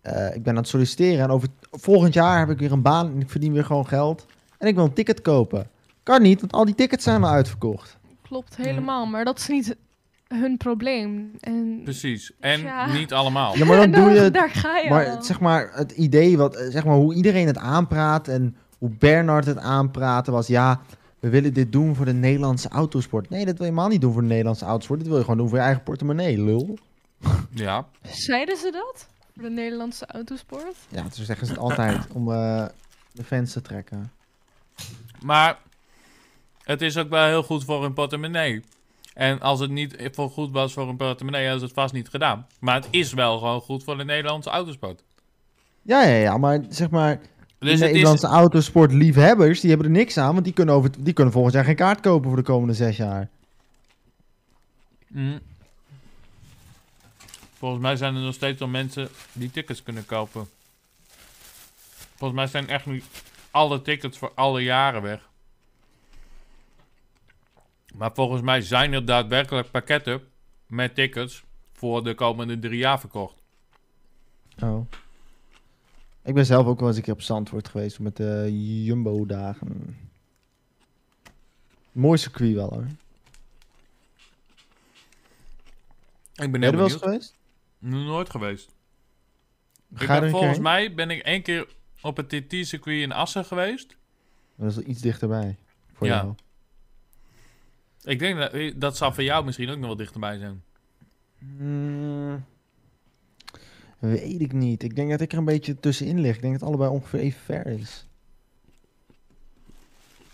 eh, ik ben aan het solliciteren en over volgend jaar heb ik weer een baan... en ik verdien weer gewoon geld. En ik wil een ticket kopen. Kan niet, want al die tickets zijn al uitverkocht. Klopt helemaal, maar dat is niet hun probleem. En Precies. En Ja. niet allemaal. Oh. Ja, Dus- maar dan doe je het Daar ga je Maar al. het- zeg maar, het idee, wat, eh, zeg maar, hoe iedereen het aanpraat en hoe Bernard het aanpraatte was, ja, we willen dit doen voor de Nederlandse autosport. Nee, dat wil je helemaal niet doen voor de Nederlandse autosport. Dit wil je gewoon doen voor je eigen portemonnee, lul. Ja. Zeiden ze dat? Voor de Nederlandse autosport? Ja, zo zeggen ze het altijd, om eh, de fans te trekken. Maar het is ook wel heel goed voor hun portemonnee. En als het niet voor goed was voor hun portemonnee, hadden ze het vast niet gedaan. Maar het is wel gewoon goed voor de Nederlandse autosport. Ja, ja, ja, maar zeg maar, Dus de het is, Nederlandse autosportliefhebbers, die hebben er niks aan, want die kunnen, over, die kunnen volgend jaar geen kaart kopen voor de komende zes jaar. Mm. Volgens mij zijn er nog steeds wel mensen die tickets kunnen kopen. Volgens mij zijn echt nu alle tickets voor alle jaren weg. Maar volgens mij zijn er daadwerkelijk pakketten met tickets voor de komende drie jaar verkocht. Oh. Ik ben zelf ook wel eens een keer op Zandvoort geweest met de Jumbo-dagen. Mooi circuit wel hoor. Ik ben Ben je heel er wel eens benieuwd. geweest? Nog nooit geweest. Ik er ben een keer volgens heen? mij ben ik één keer op het TT-circuit in Assen geweest. Dat is wel iets dichterbij. Voor Ja. jou. Ik denk dat dat zal voor jou misschien ook nog wel dichterbij zijn. Mm, weet ik niet. Ik denk dat ik er een beetje tussenin lig. Ik denk dat het allebei ongeveer even ver is.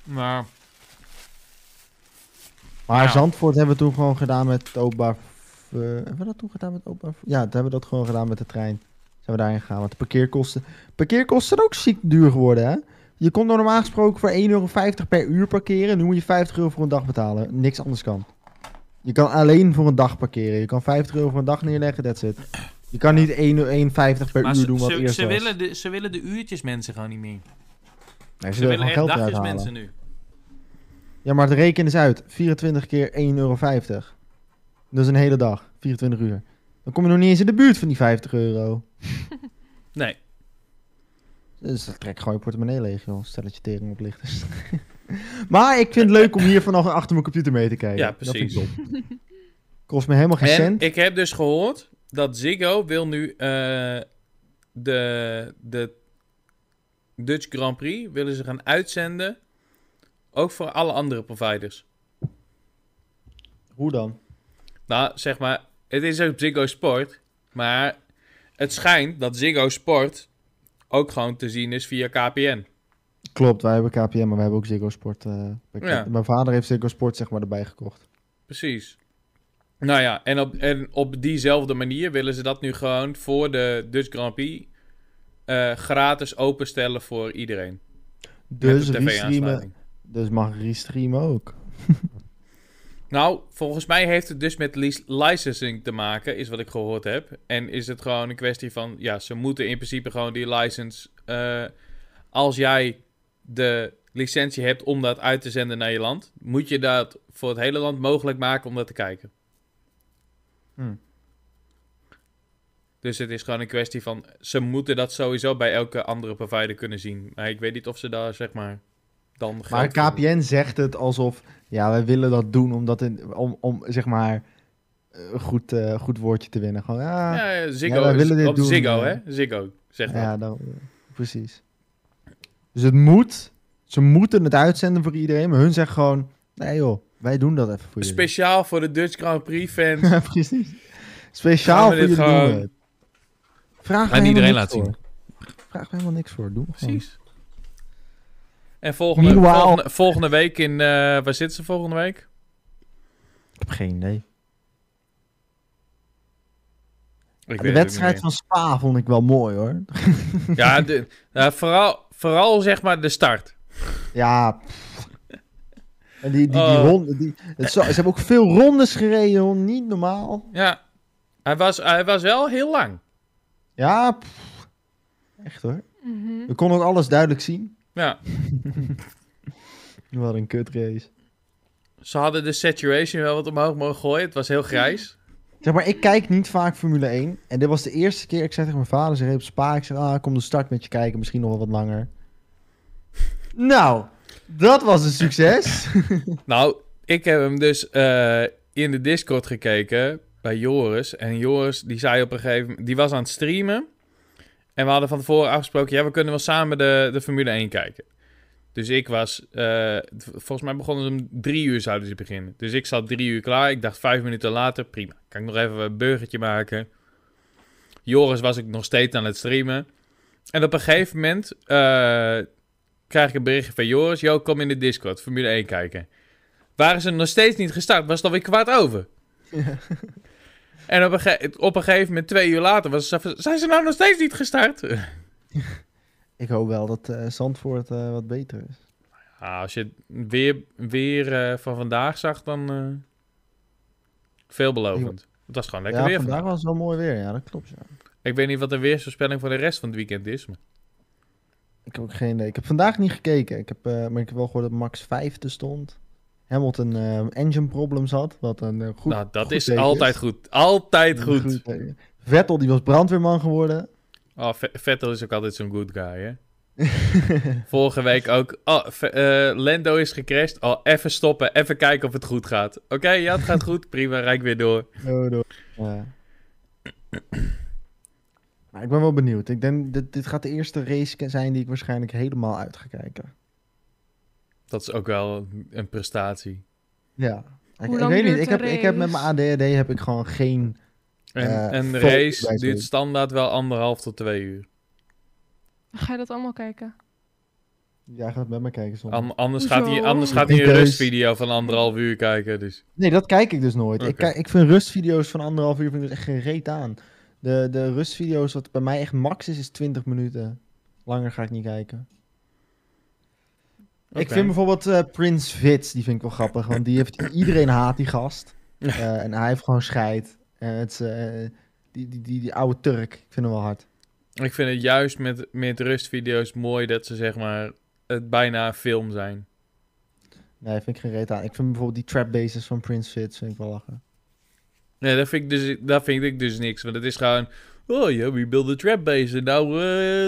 Maar Maar Ja. Zandvoort hebben we toen gewoon gedaan met het openbaar... v- eh, hebben we dat toen gedaan met het openbaar... v- Ja, toen hebben we dat gewoon gedaan met de trein. Zijn we daarin gegaan. Want de parkeerkosten... Parkeerkosten zijn ook ziek duur geworden, hè? Je kon er normaal gesproken voor 1,50 euro per uur parkeren. Nu moet je 50 euro voor een dag betalen. Niks anders kan. Je kan alleen voor een dag parkeren. Je kan 50 euro voor een dag neerleggen, that's it. Je kan niet 1,50 per Maar uur ze, doen wat ze- eerst ze was. willen de, ze willen de uurtjes mensen gewoon niet meer. Nee, Ze willen gewoon echt geld eruit dagjes halen. mensen nu. Ja, maar het reken eens uit. 24 keer 1,50 euro. Dat is een hele dag. 24 uur. Dan kom je nog niet eens in de buurt van die 50 euro. Nee. Dus dat trek gewoon je portemonnee leeg, joh. Stel dat je tering oplichters. maar ik vind het leuk om hier vanaf achter mijn computer mee te kijken. Ja, precies. Dat vind ik top. Kost me helemaal geen En cent. ik heb dus gehoord dat Ziggo wil nu eh, de, de Dutch Grand Prix willen ze gaan uitzenden. Ook voor alle andere providers. Hoe dan? Nou, zeg maar, het is ook Ziggo Sport. Maar het schijnt dat Ziggo Sport ook gewoon te zien is via KPN. Klopt, wij hebben KPM, maar wij hebben ook Ziggo Sport. eh, pakket. Ja. Mijn vader heeft Ziggo Sport zeg maar erbij gekocht. Precies. Nou ja, en op, en op diezelfde manier willen ze dat nu gewoon voor de Dutch Grand Prix eh, gratis openstellen voor iedereen. Dus Met een restreamen. TV-aansluiting. Dus mag restreamen ook. Nou, volgens mij heeft het dus met lic- licensing te maken, is wat ik gehoord heb. En is het gewoon een kwestie van, ja, ze moeten in principe gewoon die license. eh, als jij de licentie hebt om dat uit te zenden naar je land, moet je dat voor het hele land mogelijk maken om dat te kijken. Hmm. Dus het is gewoon een kwestie van, ze moeten dat sowieso bij elke andere provider kunnen zien. Maar ik weet niet of ze daar, zeg maar, dan Maar geld voor- KPN zegt het alsof, ja, wij willen dat doen omdat in, om, om, zeg maar, een goed, eh, goed woordje te winnen. Gewoon, ah, ja, ja, Ja, Ziggo. Ja, wij is- willen dit op doen, eh. Ziggo, ja. hè? Ziggo, zeg dat. dan, eh, precies. Dus het moet, ze moeten het uitzenden voor iedereen, maar hun zeggen gewoon, nee joh, wij doen dat even voor jullie. Speciaal voor de Dutch Grand Prix fans. Ja, precies. Speciaal Gaan we voor jullie dit gewoon- doen we het. Vraag Aan me iedereen helemaal niks laten voor. Vraag me helemaal niks voor. Doe maar gewoon. Precies. En volgende, Meanwhile- volgende, volgende week in... eh, waar zitten ze volgende week? Ik heb geen idee. Ik de wedstrijd van Spa vond ik wel mooi hoor. Ja, de- nou, vooral, vooral zeg maar de start. Ja. pff. En die, die, die Oh. ronde, die, het zo- ze hebben ook veel rondes gereden, hoor. niet normaal. Ja. Hij was, hij was wel heel lang. Ja, pff. echt hoor. Mhm. We konden ook alles duidelijk zien. Ja. Wat een kutrace. Ze hadden de saturation wel wat omhoog mogen gooien. Het was heel grijs. Zeg maar, ik kijk niet vaak Formule 1. En dit was de eerste keer, ik zei tegen mijn vader, ze reed op Spa. Ik zei, ah, kom de start met je kijken, misschien nog wel wat langer. Nou, dat was een succes. Nou, ik heb hem dus eh, in de Discord gekeken bij Joris. En Joris, die zei op een gegeven moment... Die was aan het streamen. En we hadden van tevoren afgesproken... Ja, we kunnen wel samen de, de Formule 1 kijken. Dus ik was... eh, v- volgens mij begonnen ze om drie uur zouden ze beginnen. Dus ik zat drie uur klaar. Ik dacht vijf minuten later, prima. Kan ik nog even een burgertje maken. Joris was ik nog steeds aan het streamen. En op een gegeven moment... eh, krijg ik een berichtje van Joris. Yo, kom in de Discord, Formule 1 kijken. Waren ze nog steeds niet gestart, was het alweer kwart over. en op een, ge- op een gegeven moment, twee uur later, was het zo van, zijn ze nou nog steeds niet gestart? ik hoop wel dat eh, Zandvoort eh, wat beter is. Ah, als je het weer, weer eh, van vandaag zag, dan eh, veelbelovend. Het was gewoon lekker ja, weer vandaag vandaag. was het wel mooi weer. Ja, dat klopt. Ja. Ik weet niet wat de weersvoorspelling voor de rest van het weekend is. Maar... Ik heb ook geen idee. Ik heb vandaag niet gekeken. Ik heb, eh, maar ik heb wel gehoord dat Max vijfde stond. Hamilton eh, engine problems had. Wat een eh, goed. nou, dat goed is teken altijd goed. Altijd Een goed. goed teken. Vettel die was brandweerman geworden. Oh, Ve- Vettel is ook altijd zo'n good guy, hè? Vorige week ook. Oh, Ve- eh, Lando is gecrashed. Oh, even stoppen. Even kijken of het goed gaat. Oké, ja, het gaat goed. Prima, rijk weer door. Zo Oh, door. Ja. Maar ik ben wel benieuwd. Ik denk dat dit gaat de eerste race ke- zijn die ik waarschijnlijk helemaal uit ga kijken. Dat is ook wel een prestatie. Ja. Ik, Hoe ik lang weet niet. duurt Ik de heb, ik heb met mijn race? ADHD heb ik gewoon geen. En Eh, een vol- race bij duurt zo'n- standaard wel anderhalf tot twee uur. Ga je dat allemaal kijken? Jij gaat met me kijken soms. An- anders, gaat hij, Hoezo? anders gaat Ik hij een denk rustvideo van anderhalf uur kijken. Dus. Nee, dat kijk ik dus nooit. Ik, Oké. kijk, ik vind rustvideo's van anderhalf uur vind ik dus echt geen reet aan. De, de rustvideo's, wat bij mij echt max is, is 20 minuten. Langer ga ik niet kijken. Ik Oké. vind bijvoorbeeld eh Prince Vits, die vind ik wel grappig. Want die heeft, iedereen haat die gast. Eh, en hij heeft gewoon scheid. En het is, eh, die, die, die, die oude Turk, ik vind hem wel hard. Ik vind het juist met, met rustvideo's mooi dat ze zeg maar het bijna een film zijn. Nee, vind ik geen reet aan. Ik vind bijvoorbeeld die trap bases van Prince Vits, vind ik wel lachen. Nee, dat vind ik dus, dat vind ik dus niks. Want het is gewoon... Oh ja, we build a trap base. En nou, eh,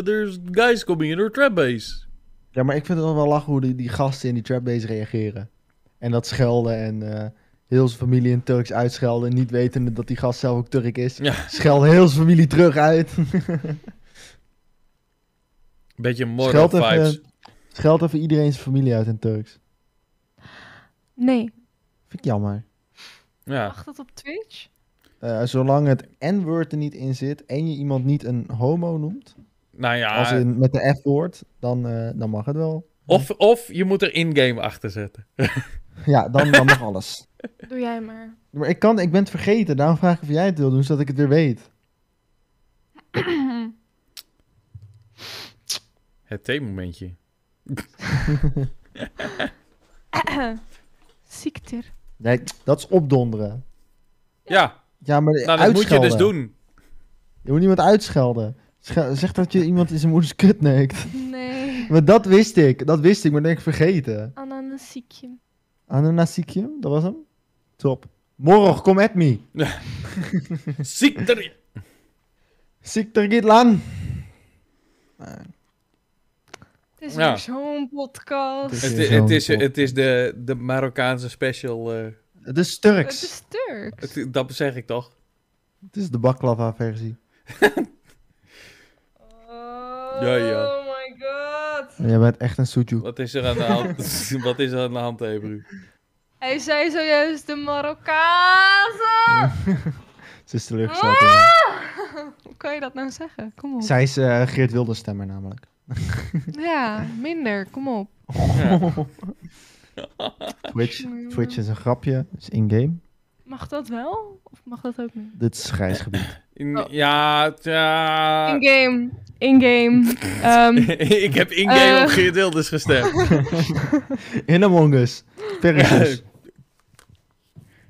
there's guys coming in our trap base. Ja, maar ik vind het wel wel lachen hoe die, die gasten in die trapbase reageren. En dat schelden en eh, heel zijn familie in Turks uitschelden. Niet wetende dat die gast zelf ook Turk is. Ja. Schelden heel zijn familie terug uit. Beetje moral Scheld vibes. even, scheld even iedereen zijn familie uit in Turks. Nee. Vind ik jammer. Ja. Mag dat op Twitch? Eh, zolang het N-woord er niet in zit en je iemand niet een homo noemt, Nou ja, als in met de F-woord, dan, eh, dan mag het wel. of, of je moet er in-game achter zetten. Ja, dan, dan mag alles. Doe jij maar. Maar ik, kan, ik ben het vergeten, daarom vraag ik of jij het wil doen, zodat ik het weer weet. Het theemomentje. Ziekter. Nee, dat is opdonderen. Ja, Ja, maar nou, dat uitschelden. moet je dus doen. Je moet iemand uitschelden. Sche- Zeg dat je iemand in zijn moeders kut neukt. Nee. Maar dat wist ik. Dat wist ik, maar dat heb ik vergeten. Ananasiekje. Ananasikium, dat was hem. Top. Morgen, kom at me. Ziek erin. Ziek er niet lang. Het is Ja. weer zo'n podcast. Het Het, is i- het, zo'n is, top. het is de, de Marokkaanse special. eh, Het is Het Turks. is Turks. het- dat zeg ik toch? Het is de baklava versie. Oh Ja, ja. my god. Jij bent echt een sujuk. Wat is er aan de hand? Wat is er aan de hand, Hebru? Hij zei zojuist de Marokkaanse. Ze is teleurgesteld. Ah! in Hoe kan je dat nou zeggen? Kom op. me. Zij is eh, Geert Wilders stemmer namelijk. Ja, minder. Kom op. Twitch. Twitch is een grapje. is in-game. Mag dat wel? Of mag dat ook niet? Dit is grijs gebied. In- Oh. Ja, tja. In-game. In-game. Ehm, ik heb in-game Eh. op Geert Wilders gestemd. In Among Us. Versus.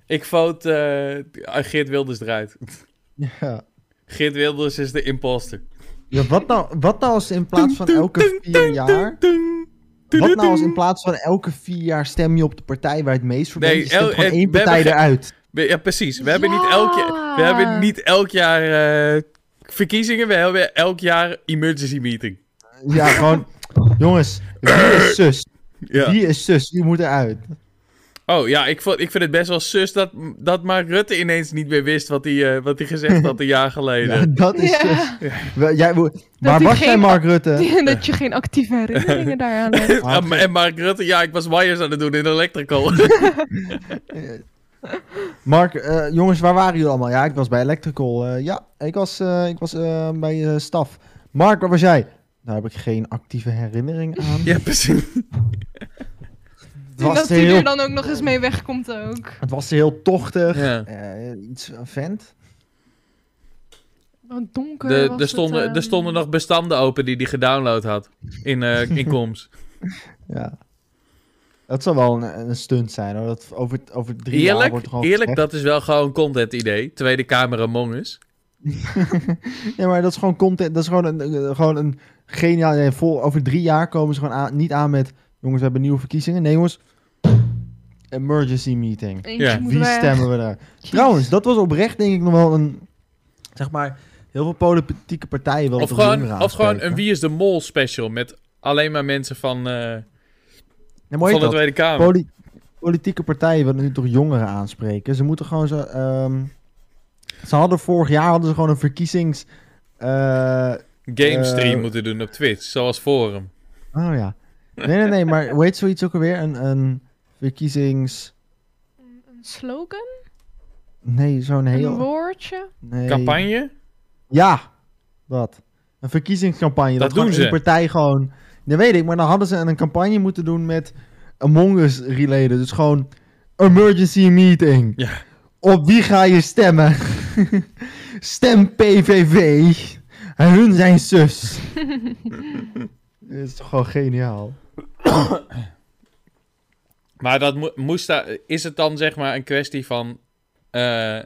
ik vote eh, Geert Wilders eruit. Ja. Geert Wilders is de imposter. Ja, wat, nou, wat nou als in plaats van elke vier jaar... Wat nou als in plaats van elke vier jaar stem je op de partij waar het meest voor Nee, bent? Je stemt el- gewoon het- één we partij hebben ge- eruit. Ja, precies. We, hebben niet Ja. elk, ja- we hebben niet elk jaar eh, verkiezingen. We hebben elk jaar emergency meeting. Ja, gewoon... Jongens, wie is zus? Ja. Wie is zus? Wie moet eruit? Oh ja, ik, vond, ik vind het best wel sus dat, dat Mark Rutte ineens niet meer wist wat hij, eh, wat hij gezegd had een jaar geleden. Ja, dat is Ja. zus. Wel, Jij, wo- waar hij was jij, geen- Mark Rutte? dat je geen actieve herinneringen daaraan hebt. Ah, maar- en Mark Rutte, ja, ik was wires aan het doen in Electrical. Mark, eh, jongens, waar waren jullie allemaal? Ja, ik was bij Electrical. eh, ja, ik was, eh, ik was eh, bij eh, staf. Mark, waar was jij? Daar heb ik geen actieve herinnering aan. ja, precies. het, En was dat hij heel, er dan ook nog eens mee wegkomt ook. het was heel tochtig. Ja. Eh, iets een vent. Wat donker De, was er, stonden, het, ehm. er stonden nog bestanden open die hij gedownload had in, eh in Coms. Ja. Dat zou wel een, een stunt zijn hoor. Dat over, over drie jaar Eerlijk, wordt gewoon eerlijk gezegd- dat is wel gewoon content idee. Tweede Kamer Among Us. Ja, maar dat is gewoon content. Dat is gewoon een, eh, gewoon een geniaal. nee, vol, over drie jaar komen ze gewoon aan, niet aan met. Jongens, we hebben nieuwe verkiezingen. Nee, jongens. Emergency meeting. Eentje Ja. moet Wie weg. stemmen we daar? Jeez. Trouwens, dat was oprecht denk ik nog wel een. Zeg maar, heel veel politieke partijen wel Of gewoon, of gewoon een Wie is de Mol special met alleen maar mensen van, eh, van de dat? Tweede Kamer. Poli- politieke partijen willen nu toch jongeren aanspreken. Ze moeten gewoon zo. ehm, ze hadden vorig jaar hadden ze gewoon een verkiezings. eh, Game stream Eh, moeten doen op Twitch, zoals Forum. oh ja. Nee, nee, nee, maar hoe heet zoiets ook alweer? Een, een verkiezings. Een- Een slogan? Nee, zo'n Een heel. woordje? Nee. Campagne? Ja, dat. Een verkiezingscampagne. Dat, Dat gewoon doen één ze. partij gewoon... Dat weet ik, maar dan hadden ze een campagne moeten doen met Among Us related. Dus gewoon emergency meeting. Ja. Op wie ga je stemmen? Stem PVV. En hun zijn zus. Dat is toch gewoon geniaal. Maar dat mo- moest daar, is het dan zeg maar een kwestie van... eh,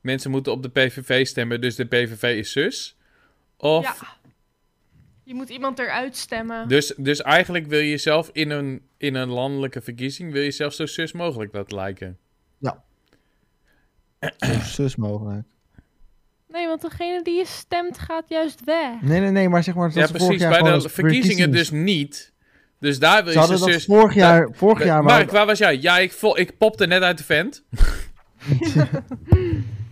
mensen moeten op de PVV stemmen, dus de PVV is zus? Of, Ja. Je moet iemand eruit stemmen. dus, dus eigenlijk wil je zelf in een, in een landelijke verkiezing... wil je zelf zo zus mogelijk laten lijken. Zo zus mogelijk. Nee, want degene die je stemt gaat juist weg. Nee, nee, nee, maar zeg maar... dat ze Ja, vorig precies. jaar Bij gewoon de als verkiezingen dus niet. Dus daar wil Ze je zo hadden dat zus... vorig jaar... Vorig jaar Mark, waar was jij? Ja, ik, vo- ik popte net uit de vent.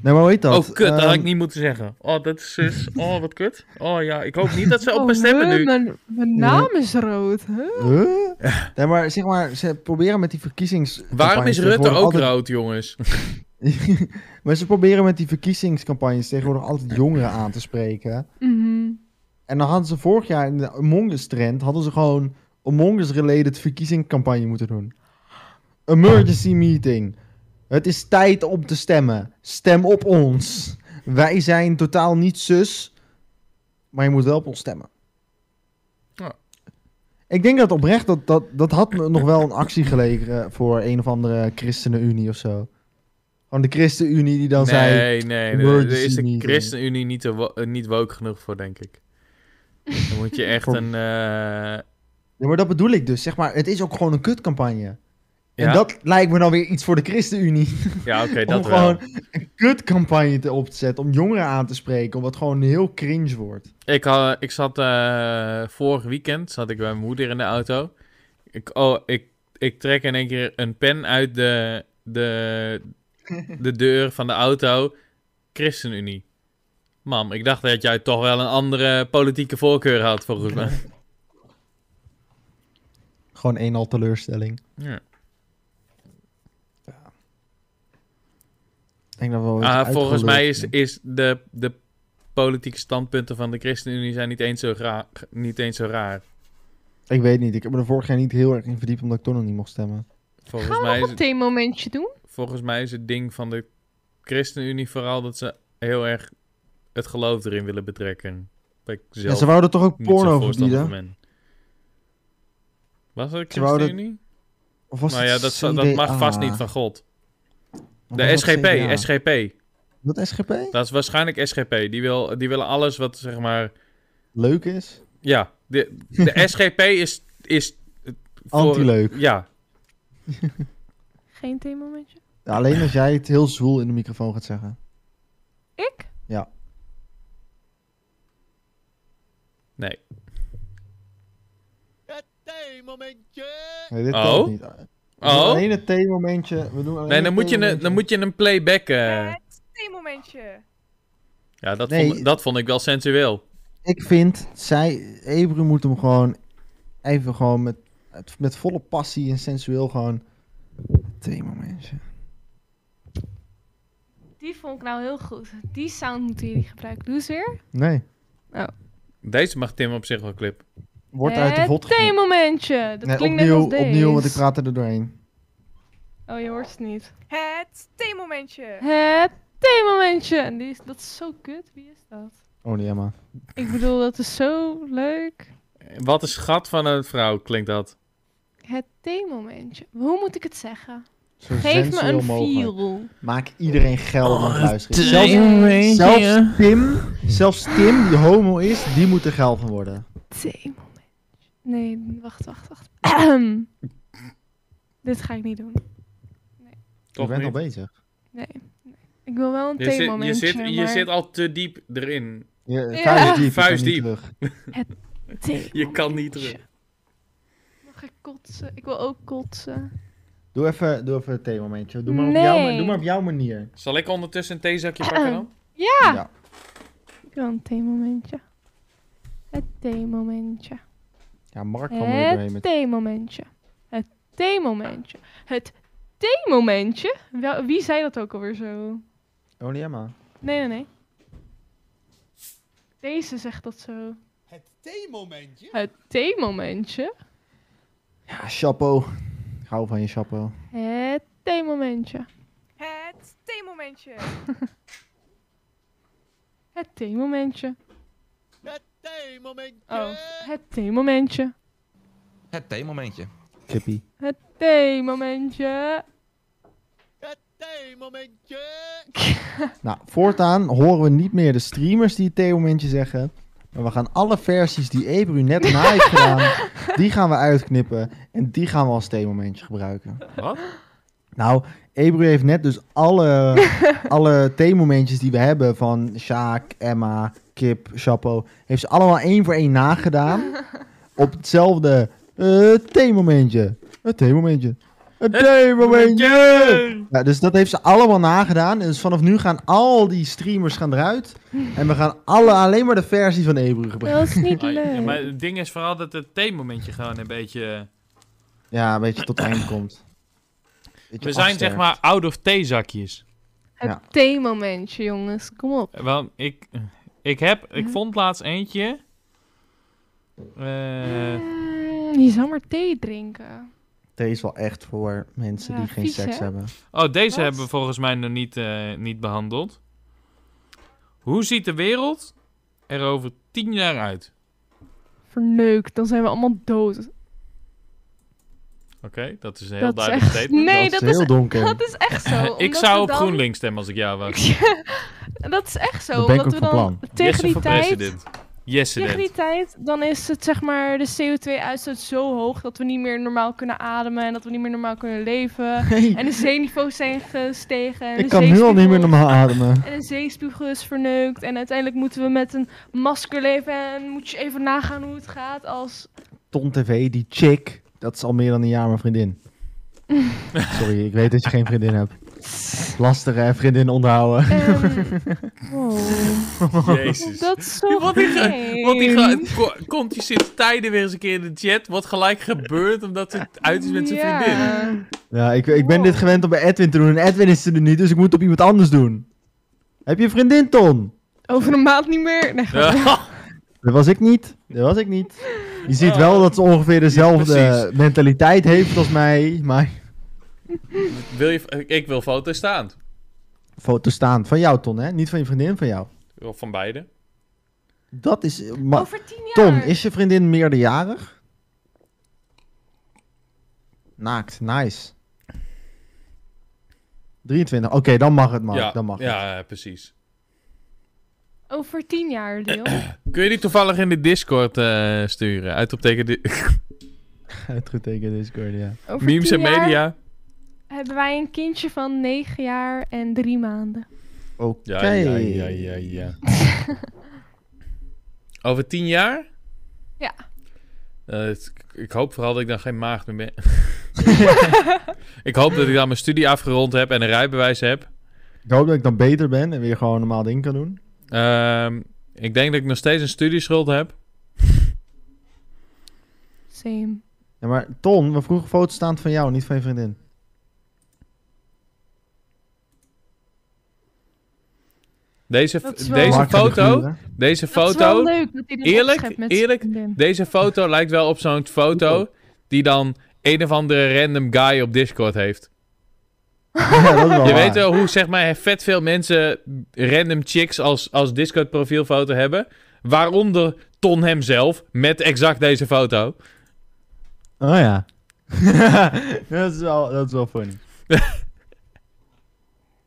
Nee, maar hoe heet dat? oh, kut, dat had ik Ehm, niet moeten zeggen. Oh, dat is zus. Oh, wat kut. Oh ja, ik hoop niet dat ze op Oh, me stemmen huh, nu. Mijn, mijn naam is rood, hè? Huh? Nee, maar zeg maar, ze proberen met die verkiezings... Waarom is Rutte ook rood, jongens? maar ze proberen met die verkiezingscampagnes tegenwoordig altijd jongeren aan te spreken. Mhm. En dan hadden ze vorig jaar in de Among Us trend, hadden ze gewoon Among Us related verkiezingscampagne moeten doen. Emergency meeting. Het is tijd om te stemmen. Stem op ons. Wij zijn totaal niet zus, maar je moet wel op ons stemmen. Ja. Ik denk dat oprecht, dat, dat, dat had me nog wel een actie geleverd voor een of andere ChristenUnie of zo. Gewoon de ChristenUnie die dan zei... nee, nee, nee, emergency daar is de meeting. ChristenUnie niet, te wo- eh, niet woke genoeg voor, denk ik. Dan moet je echt Voor- een... eh, Ja, maar dat bedoel ik dus, zeg maar. Het is ook gewoon een kutcampagne. En Ja? dat lijkt me dan weer iets voor de ChristenUnie. ja, oké, om dat wel. gewoon een kutcampagne te op te zetten. Om jongeren aan te spreken. Omdat het gewoon heel cringe wordt. Ik, had, ik zat eh, vorig weekend zat ik bij mijn moeder in de auto. Ik, oh, ik, ik trek in één keer een pen uit de, de, de deur van de auto. ChristenUnie. Mam, ik dacht dat jij toch wel een andere politieke voorkeur had, volgens mij. Gewoon een al teleurstelling. Ja. Ik denk dat we wel Ah, iets volgens mij is, uitgeluld is de, de politieke standpunten van de ChristenUnie zijn niet eens zo, raar, niet eens zo raar. zijn. Ik weet niet. Ik heb me er vorig jaar niet heel erg in verdiept. Omdat ik toen nog niet mocht stemmen. Volgens Gaan we mij is nog een het theemomentje doen? volgens mij is het ding van de ChristenUnie vooral dat ze heel erg het geloof erin willen betrekken. Dat ik En zelf ze wouden toch ook Dus niet zo'n porno voorstander verbieden? van ben. Was het Ze wouden- ChristenUnie? Of was Nou ja, het Ah. dat, zou- dat mag CDA? vast niet van God. Of was De dat SGP, CDA? SGP. Dat SGP? Dat is waarschijnlijk SGP. Die, wil, die willen alles wat, zeg maar... Leuk is. Ja, de, de SGP is... is eh, voor- Anti-leuk. Ja, Geen theemomentje? Ja, alleen als jij het heel zwoel in de microfoon gaat zeggen. Ik? nee. Het theemomentje. Nee, dit Oh? telt niet. We doen Oh? Alleen het theemomentje. We doen alleen Nee, het dan moet je een, theemomentje. dan moet je een playback... eh. Ja, het is een theemomentje. Ja, dat, Nee. vond, dat vond ik wel sensueel. Ik vind, zij, Ebru moet hem gewoon even gewoon met, het- met volle passie en sensueel gewoon... Theemomentje. Die vond ik nou heel goed. Die sound moeten jullie gebruiken. Doe eens weer. Nee, Deze mag Tim op zich wel clip. wordt uit de vod Het theemomentje. Dat Nee, klinkt opnieuw, net als opnieuw, want ik deze. praat er doorheen. Oh, je hoort het niet. Het theemomentje. Het theemomentje. En die is, dat is zo kut. Wie is dat? Oh, die Emma. Ik bedoel, dat is zo leuk. Wat een schat van een vrouw klinkt dat. Het theemomentje. Hoe moet ik het zeggen? Zo Geef me sensueel een mogelijk. feel. Maak iedereen geld Oh, aan het luisteren. Zelfs, Zelfs- zelfs- zelfs, Tim, zelfs Tim, die homo is, die moet er geld van worden. Theemomentje. Nee, wacht, wacht, wacht. Ahem. Dit ga ik niet doen. Je Toch bent al niet. bezig. Nee. nee. Ik wil wel een Je zit, je, theemomentje, zit, je maar zit al te diep erin. Je, Ja. Vuist diep. je kan Vuist niet diep. terug. theemomentje. Je kan niet terug. Mag ik kotsen? Ik wil ook kotsen. Doe even, doe even een theemomentje. Doe maar, op Nee. jouw, doe maar op jouw manier. Zal ik ondertussen een theezakje pakken dan? Ja! Ja. Ik wil een theemomentje. Het theemomentje. Ja, Mark kwam er weer doorheen Het met... theemomentje. Het theemomentje. Het theemomentje? Wel, wie zei dat ook alweer zo? Oh, die Emma. Nee, nee, nee. Deze zegt dat zo. Het theemomentje. Het theemomentje. Ja, chapeau. Ik hou van je chapeau. Het theemomentje. Het theemomentje. Het theemomentje. Het theemomentje. Oh, het theemomentje. Het theemomentje. Kippie. Het theemomentje. Het theemomentje. Nou, voortaan horen we niet meer de streamers die het theemomentje zeggen. Maar we gaan alle versies die Ebru net na heeft gedaan, die gaan we uitknippen. En die gaan we als theemomentje gebruiken. Wat? Nou, Ebru heeft net dus alle, alle theemomentjes die we hebben van Sjaak, Emma, Kip, Chapo, heeft ze allemaal één voor één nagedaan. Op hetzelfde eh theemomentje. Het theemomentje. Het theemomentje! Ja, dus dat heeft ze allemaal nagedaan. En dus vanaf nu gaan al die streamers gaan eruit. En we gaan alle, alleen maar de versie van Ebru gebruiken. Dat is niet Ah, ja, maar leuk. het ding is vooral dat het theemomentje gewoon een beetje... Ja, een beetje tot het eind komt. Beetje We zijn zeg afsterft. maar out of theezakjes. ja. Het theemomentje, jongens. Kom op. Want ik, ik heb... Mhm. Ik vond laatst eentje... Eh, Mm, je zou maar thee drinken. Deze is wel echt voor mensen Ja, die geen vies, seks hè? hebben. oh, deze Wat? hebben we volgens mij nog niet, eh, niet behandeld. Hoe ziet de wereld er over tien jaar uit? Verneukt, dan zijn we allemaal dood. dat is een heel dat is duidelijk echt... statement. Nee, dat is dat heel is, donker. dat is echt zo. ik omdat zou we op dan- GroenLinks stemmen als ik jou was. Dat is echt zo. Dat ben ik omdat ook we van dan tegen die voor tijd... president. Jesse Tegen die tijd, dan is het zeg maar de CO2-uitstoot zo hoog dat we niet meer normaal kunnen ademen en dat we niet meer normaal kunnen leven. Nee, En de zeeniveaus zijn gestegen. En ik de kan nu al niet meer zeespiegel- normaal ademen. En de zeespiegel is verneukt. En uiteindelijk moeten we met een masker leven. En moet je even nagaan hoe het gaat als... Ton TV, die chick, dat is al meer dan een jaar mijn vriendin. Sorry, ik weet dat je geen vriendin hebt. Lastig hè, vriendin onderhouden. Ehm, wow. Jezus. Dat is zo Wat die, ge- wat die gemeen. ge- ko- komt die sinds tijden weer eens een keer in de chat. Wat gelijk gebeurt omdat ze uit is met zijn Ja. vriendin. Ja, ik, ik ben Wow. dit gewend om bij Edwin te doen. En Edwin is er nu niet, dus ik moet het op iemand anders doen. Heb je een vriendin, Ton? Over een maand niet meer. Nee, Ja. Dat was ik niet. Dat was ik niet. Je ziet Oh. wel dat ze ongeveer dezelfde precies. mentaliteit heeft als mij. Maar Wil je, ik wil foto's staan. foto staan van jou, Ton, hè? Niet van je vriendin, van jou. Of van beide. Dat is... Maar, Over tien jaar. Ton, is je vriendin meerderjarig? Naakt, nice. 23, oké, dan mag het, Mark. ja, dan mag het. ja, precies. Over tien jaar, Leo. Kun je die toevallig in de Discord eh, sturen? Uitopteken de Uitgetekend Discord, ja. Over memes en tien jaar media. hebben wij een kindje van negen jaar en drie maanden. Oké. Ja, ja, ja, ja, ja. Over tien jaar? Ja. Eh, het- ik hoop vooral dat ik dan geen maagd meer ben. ik hoop dat ik dan mijn studie afgerond heb en een rijbewijs heb. Ik hoop dat ik dan beter ben en weer gewoon een normaal ding kan doen. Ehm, ik denk dat ik nog steeds een studieschuld heb. Same. Ja, maar Ton, we vroegen foto's staan van jou, niet van je vriendin. Deze, Dat is wel- deze Mark en de foto, Guren. deze Dat is wel foto, leuk dat hij dat Eerlijk, opschept met zijn eerlijk, vriendin. deze foto lijkt wel op zo'n foto die dan een of andere random guy op Discord heeft. Ja, dat is wel Je waar. weet wel hoe zeg maar vet veel mensen random chicks als, als Discord profielfoto hebben. Waaronder Ton hemzelf met exact deze foto. Oh ja. dat, is wel, dat is wel funny.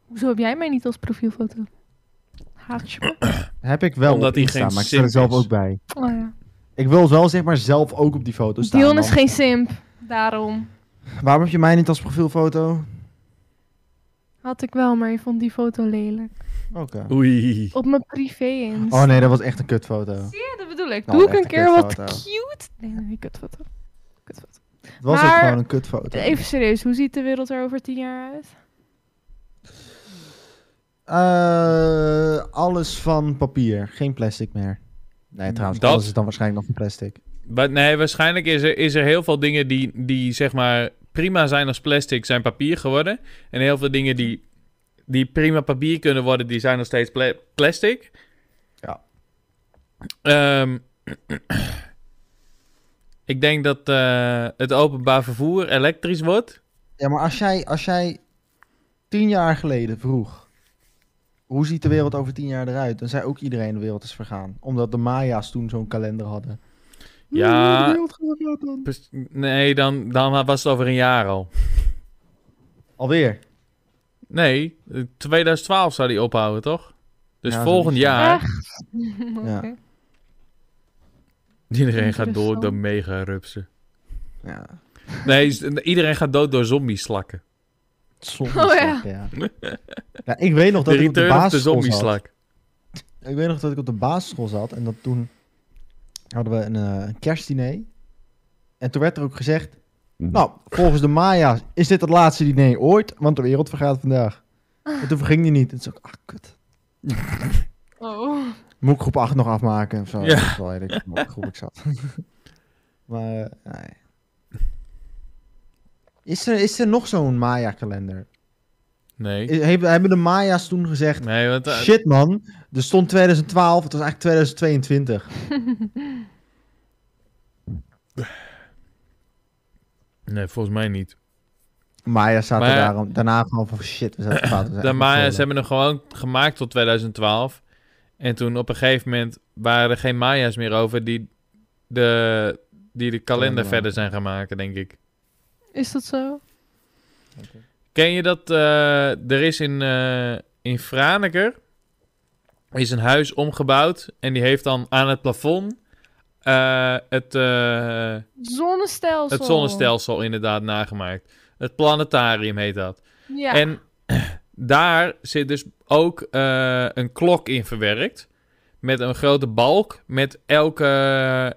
Hoezo heb jij mij niet als profielfoto? Haat je me? Heb ik wel Omdat op hij Insta, geen maar ik sta er simp zelf is. ook bij. Oh ja. Ik wil wel zeg maar zelf ook op die foto staan. Dion is man. geen simp, daarom. Waarom heb je mij niet als profielfoto? Had ik wel, maar je vond die foto lelijk. Oké. Oei. Op mijn privé ins. Oh nee, dat was echt een kutfoto. Zie je, dat bedoel ik. Nou, Doe ik echt een een keer wat kutfoto. cute. Nee, nee, nee, kutfoto. Kutfoto. Het was Maar- ook gewoon een kutfoto. Even serieus, hoe ziet de wereld er over tien jaar uit? Eh, alles van papier, geen plastic meer. Nee, trouwens, Dat- alles is dan waarschijnlijk nog van plastic. Maar nee, waarschijnlijk is er, is er heel veel dingen die, die zeg maar prima zijn als plastic zijn papier geworden. En heel veel dingen die, die prima papier kunnen worden, die zijn nog steeds pla- plastic. Ja. Ehm, ik denk dat eh, het openbaar vervoer elektrisch wordt. Ja, maar als jij, als jij tien jaar geleden vroeg... hoe ziet de wereld over tien jaar eruit? Dan zei ook iedereen de wereld is vergaan. Omdat de Maya's toen zo'n kalender hadden. Ja. Hoe de wereld gaat eruit dan? Pers- Nee, dan, dan was het over een jaar al. Alweer. Nee, eh, 2012 zou die ophouden, toch? Dus Ja, volgend zoiets. jaar, Echt? Oké. Ja. iedereen gaat door Interessant. door mega rupsen. Ja. Nee, s- iedereen gaat dood door zombieslakken. Zombieslak, Oh, ja. ja. ja. Ik weet nog dat De ik op de return of de basisschool zat. zombieslak. Ik weet nog dat ik op de basisschool zat en dat toen hadden we een eh, kerstdiner. En toen werd er ook gezegd, Mhm. nou, volgens de Maya's is dit het laatste diner ooit, want de wereld vergaat vandaag. En toen verging die niet. En toen zei ik, ach, kut. Oh. Moet ik groep 8 nog afmaken? Of zo. Ja. Ja. Dat is wel redelijk in welke groep ik zat. maar, eh, nee. Is er, is er nog zo'n Maya-kalender? Nee. Is- hebben- Hebben de Maya's toen gezegd, Nee, want eh, Shit man, er stond 2012, het was eigenlijk 2022. nee, volgens mij niet. Maya staat er Maar- daarom, daarna gewoon van shit, we zaten fout. we zijn De echt Maya's begonnen. hebben hem gewoon gemaakt tot 2012. En toen op een gegeven moment waren er geen Maya's meer over die de, die de kalender Kalender verder zijn gaan maken, denk ik. Is dat zo? Ken je dat? eh, er is in, eh in Franeker is een huis omgebouwd en die heeft dan aan het plafond eh, het, eh, Zonnestelsel. het zonnestelsel inderdaad nagemaakt. Het planetarium heet dat. Ja. En daar zit dus ook eh, een klok in verwerkt. Met een grote balk met elke, eh,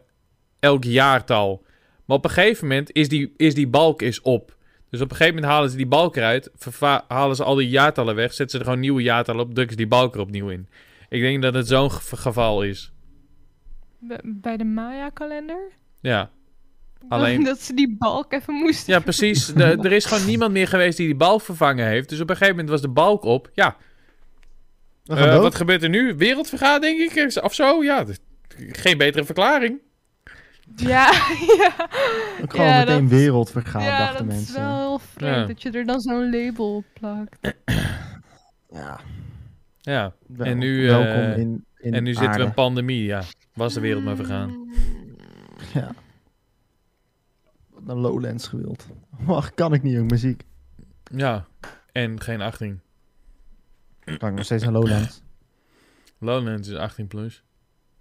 elk jaartal. Maar op een gegeven moment is die, is die balk is op. Dus op een gegeven moment halen ze die balk eruit. verva- Halen ze al die jaartallen weg. Zetten ze er gewoon nieuwe jaartallen op. Drukken ze die balk er opnieuw in. Ik denk dat het zo'n ge- geval is. Bij- Bij de Maya-kalender? Ja. Alleen- Dat ze die balk even moesten. Ja, precies. De- er is gewoon niemand meer geweest die die balk vervangen heeft. Dus op een gegeven moment was de balk op. Ja, We gaan Eh, dood. wat gebeurt er nu? Wereldvergadering, denk ik, of zo? Ja, d- geen betere verklaring. Ja, ja. Ook gewoon ja, meteen dat- wereld vergaan, ja, dachten dat is mensen. wel heel vreemd Ja. dat je er dan zo'n label op plakt. Ja, Ja, wel- En nu, eh, welkom in, in en nu zitten we in aarde. pandemie, ja. Was de wereld maar vergaan. Mm. Wat Naar Lowlands gewild. Wacht, kan ik niet, jong, muziek. Ja, en geen 18. Kan ik nog steeds naar Lowlands? Lowlands is 18 plus.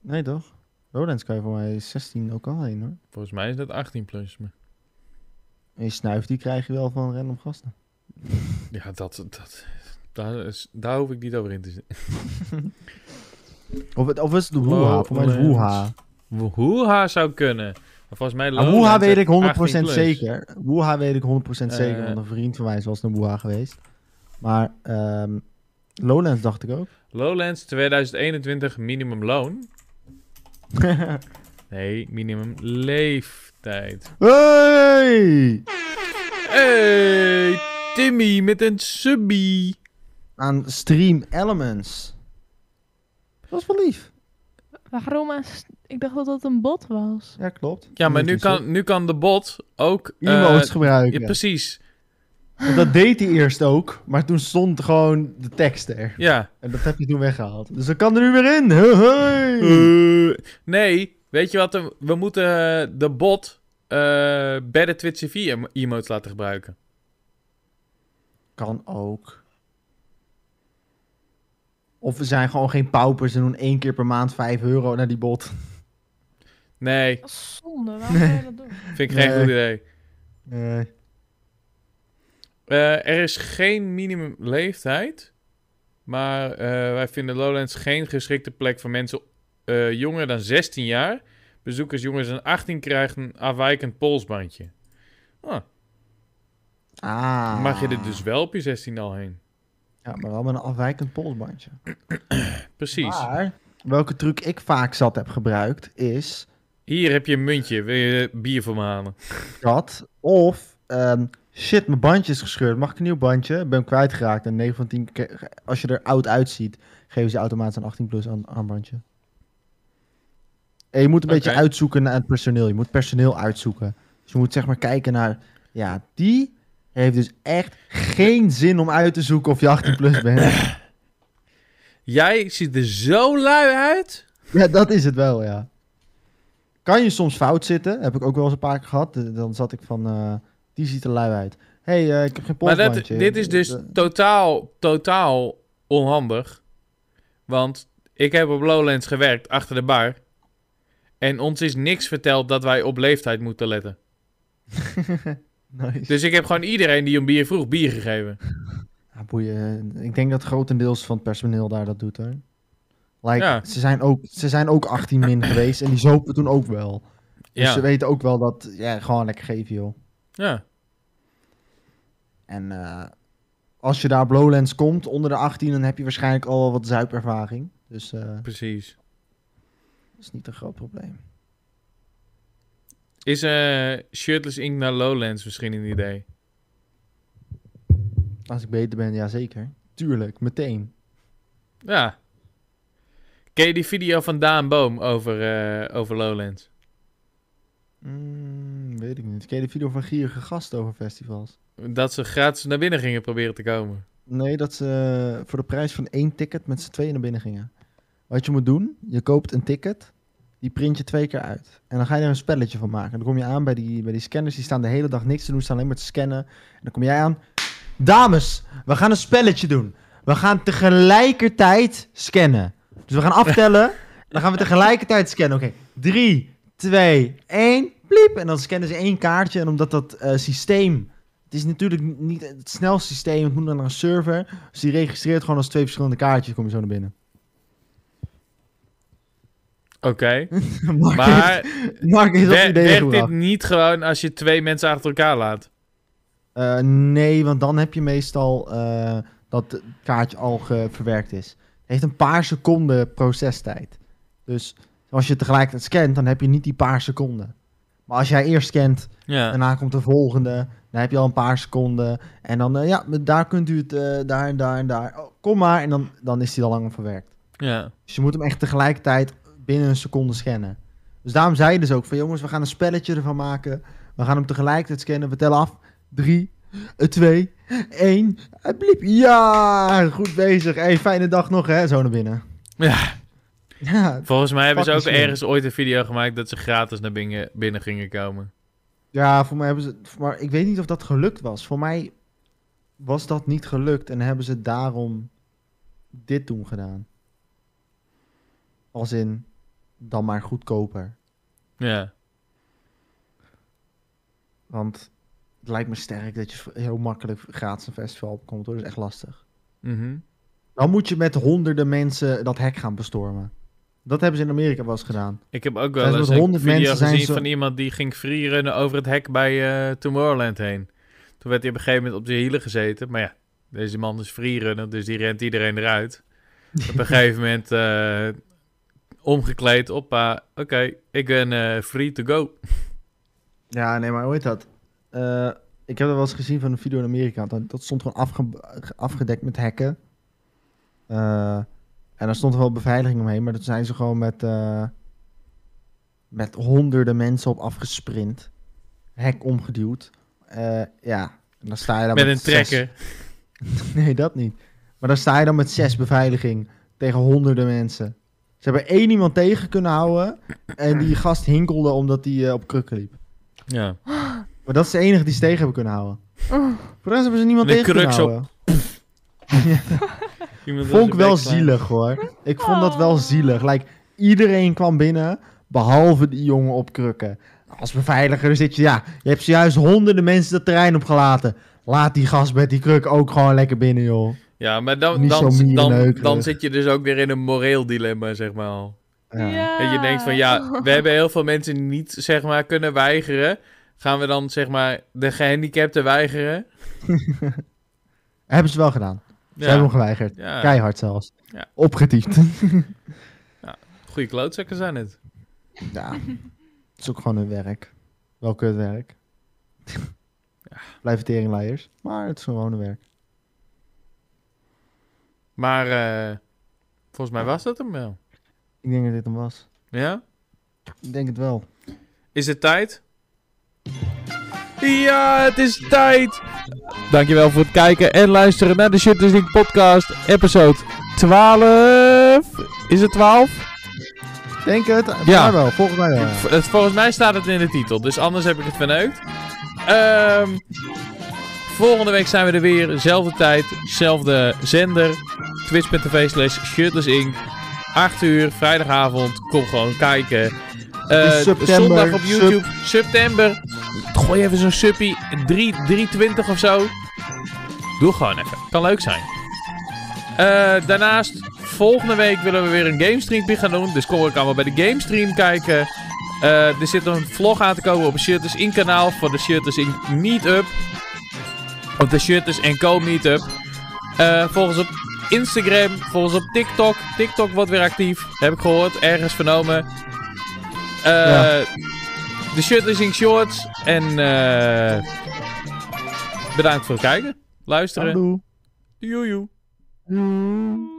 Nee, toch? Lowlands kan je voor mij 16 ook al heen, hoor. Volgens mij is dat 18 plus. maar- En je snuif, die krijg je wel van random gasten. Ja, dat, dat, daar, is, daar hoef ik niet over in te zitten. Of, het- of is het Woeha? Voor mij is het Woeha. Wo- Hoeha zou kunnen. Maar volgens mij Maar Lowlands Woeha weet is ik 18 100% plus. zeker. Woeha weet ik 100% Eh. zeker, want een vriend van mij is wel eens naar Woeha geweest. Maar ehm, Lowlands dacht ik ook. Lowlands 2021 minimumloon. Nee, minimumleeftijd. hey! Hey, Timmy met een subie. Aan Stream Elements. Dat was wel lief. Waarom? aan s- Ik dacht dat dat een bot was. Ja, klopt. Ja, maar Niet nu eens, hoor. kan, nu kan de bot ook... eh, Emo's ja, gebruiken. precies. Want dat deed hij eerst ook, maar toen stond gewoon de tekst er. Ja. En dat heb je toen weggehaald. Dus dat kan er nu weer in. Hey, hey. Eh, nee, weet je wat? We- We moeten eh, de bot eh bij de Twitch TV em- emotes laten gebruiken. Kan ook. Of we zijn gewoon geen paupers en doen één keer per maand 5 euro naar die bot. Nee, Dat is zonde, waarom zou je dat doen? vind ik geen Nee. goed idee. Nee. Eh, er is geen minimumleeftijd. Maar eh, wij vinden Lowlands geen geschikte plek voor mensen eh, jonger dan 16 jaar. Bezoekers jonger dan 18 krijgen een afwijkend polsbandje. Ah. Mag je er dus wel op je 16 al heen? Ja, maar wel met een afwijkend polsbandje. Precies. Maar welke truc ik vaak zat heb gebruikt is Hier heb je een muntje. Wil je bier voor me halen? dat of ehm, shit, mijn bandje is gescheurd. Mag ik een nieuw bandje? Ik ben hem kwijtgeraakt. En 9 van 10 keer, als je er oud uitziet, geven ze je automatisch een 18 plus aan, armbandje. En je moet een beetje Oké. uitzoeken naar het personeel. Je moet personeel uitzoeken. Dus je moet zeg maar kijken naar, ja, die heeft dus echt geen zin om uit te zoeken of je 18 plus bent. Jij ziet er zo lui uit. Ja, dat is het wel, ja. Kan je soms fout zitten? Heb ik ook wel eens een paar keer gehad. Eh, Dan zat ik van, eh, die ziet er lui uit. hey, eh, ik heb geen Maar polsbandje. dat, dit is dus Eh, totaal, totaal onhandig. Want ik heb op Lowlands gewerkt, achter de bar. En ons is niks verteld dat wij op leeftijd moeten letten. nice. Dus ik heb gewoon iedereen die om bier vroeg, bier gegeven. Ja, boeien. Eh, Ik denk dat grotendeels van het personeel daar dat doet hoor. Like, Ja. ze, zijn ook, ze zijn ook 18 min geweest en die zopen toen ook wel. Dus Ja, ze weten ook wel dat, ja, gewoon lekker geven joh. ja. En eh, als je daar op Lowlands komt, onder de 18, dan heb je waarschijnlijk al wel wat zuipervaring. Dus eh, precies. dat is niet een groot probleem. Is eh, Shirtless Ink naar Lowlands misschien een idee? Als ik beter ben, ja zeker. Tuurlijk, meteen. Ja. Ken je die video van Daan Boom over, eh, over Lowlands? Mm, weet ik niet. Ken je de video van gierige gasten over festivals? Dat ze gratis naar binnen gingen proberen te komen. Nee, dat ze eh, voor de prijs van één ticket met z'n tweeën naar binnen gingen. Wat je moet doen, je koopt een ticket Die print je twee keer uit. En dan ga je er een spelletje van maken. Dan kom je aan bij die, bij die scanners. Die staan de hele dag niks te doen. Staan alleen maar te scannen. En dan kom jij aan. Dames, we gaan een spelletje doen. We gaan tegelijkertijd scannen. Dus we gaan aftellen. dan gaan we tegelijkertijd scannen. Oké, drie, twee, één. Bliep. En dan scannen ze één kaartje. En omdat dat eh, systeem... Het is natuurlijk niet het snelste systeem. Het moet dan naar een server. Dus die registreert gewoon als twee verschillende kaartjes. Kom je zo naar binnen. Oké, Mark, maar heeft- Mark is op wer- idee werkt dit gebracht. niet gewoon als je twee mensen achter elkaar laat? Eh, nee, want dan heb je meestal eh, dat het kaartje al ge- verwerkt is. Het heeft een paar seconden procestijd. Dus als je tegelijkertijd scant, dan heb je niet die paar seconden. Maar als jij eerst scant, Ja. daarna komt de volgende, dan heb je al een paar seconden. En dan, eh, ja, daar kunt u het, eh, daar en daar en daar. Oh, kom maar, en dan, dan is die al lang verwerkt. ja. Dus je moet hem echt tegelijkertijd binnen een seconde scannen. Dus daarom zei je dus ook van jongens, we gaan een spelletje ervan maken. We gaan hem tegelijkertijd scannen. We tellen af. Drie, eh, twee, één. En bliep. Ja, goed bezig. Hey, fijne dag nog hè. Zo naar binnen. Ja. Ja, Volgens mij hebben ze ook Fucking slim. ergens ooit een video gemaakt dat ze gratis naar binnen, binnen gingen komen. ja voor mij hebben ze... voor- Maar ik weet niet of dat gelukt was. Voor mij was dat niet gelukt. En hebben ze daarom dit toen gedaan. Als in, dan maar goedkoper. Ja. Want het lijkt me sterk dat je v- heel makkelijk gratis een festival opkomt. Hoor. Dat is echt lastig. Mhm. Dan moet je met honderden mensen dat hek gaan bestormen. Dat hebben ze in Amerika wel eens gedaan. Ik heb ook Zijn wel ze eens met een 100 video mensen zijn gezien ze- van iemand die ging freerunnen over het hek bij eh, Tomorrowland heen. Toen werd hij op een gegeven moment op zijn hielen gezeten. Maar ja, deze man is freerunner, dus die rent iedereen eruit. op een gegeven moment eh, omgekleed, oppa, oké, ik ben eh, free to go. Ja, nee, maar hoe heet dat? Eh, ik heb dat wel eens gezien van een video in Amerika. Dat, dat stond gewoon afge- ge- afgedekt met hekken. Eh, en daar stond wel beveiliging omheen. Maar dat zijn ze gewoon met, eh, met honderden mensen op afgesprint. Hek omgeduwd. Eh, ja, en dan sta je daar Met een zes- trekker. Nee, dat niet. Maar dan sta je dan met zes beveiliging tegen honderden mensen. Ze hebben één iemand tegen kunnen houden. En die gast hinkelde omdat hij eh, op krukken liep. Ja. Maar dat is de enige die ze tegen hebben kunnen houden. Oh. Voor de rest hebben ze niemand Met een tegen kunnen crux op. houden. Iemand was Vond ik een wel bek slaan. zielig hoor. Ik vond dat wel Oh. zielig. Like, iedereen kwam binnen, behalve die jongen op krukken. Als beveiliger zit je, ja, je hebt zojuist honderden mensen dat terrein opgelaten. Laat die gast met die kruk ook gewoon lekker binnen, joh. Ja, maar dan, Niet zo eh. dan, dan, mierenneukerig. dan zit je dus ook weer in een moreel dilemma, zeg maar al. Ja. En je denkt van Ah. ja, we hebben heel veel mensen niet zeg maar kunnen weigeren. Gaan we dan zeg maar de gehandicapten weigeren? Hebben ze wel gedaan. Ze Ja, hebben hem geweigerd. ja. Keihard zelfs. Ja. Opgetiefd. goede klootzakken zijn het. ja. Het is ook gewoon hun werk. Wel kut werk. Blijven teringleiers. Maar het is gewoon hun werk. Maar eh, volgens mij was dat hem wel. Ik denk dat dit hem was. Ja? Ik denk het wel. Is het tijd? Ja, het is tijd! Dankjewel voor het kijken en luisteren naar de Shit is Ding podcast episode 12. Is het 12? Denk het. Ja. Ja. wel. Volgens mij wel. V- het- Volgens mij staat het in de titel, dus anders heb ik het verneukt. Ehm, volgende week zijn we er weer. Zelfde tijd, zelfde zender. Twitch.tv slash shirtlessinc. 8 uur, vrijdagavond. Kom gewoon kijken. Eh, is september, zondag op sub- YouTube. September. Gooi even zo'n suppie. 3, 320 of zo. Doe gewoon even. Kan leuk zijn. Eh, daarnaast, volgende week willen we weer een gamestream gaan doen. Dus kom ook allemaal bij de gamestream kijken. Eh, er zit een vlog aan te komen op het Shirters In kanaal voor de Shirters In Meetup. Op de Shirters en Co Meetup. Eh volgens op Instagram, volgens op TikTok. TikTok wordt weer actief, heb ik gehoord, ergens vernomen. Eh, Ja. De Shirters In Shorts. En eh, bedankt voor het kijken, luisteren. Doei. Joejoe. Doei.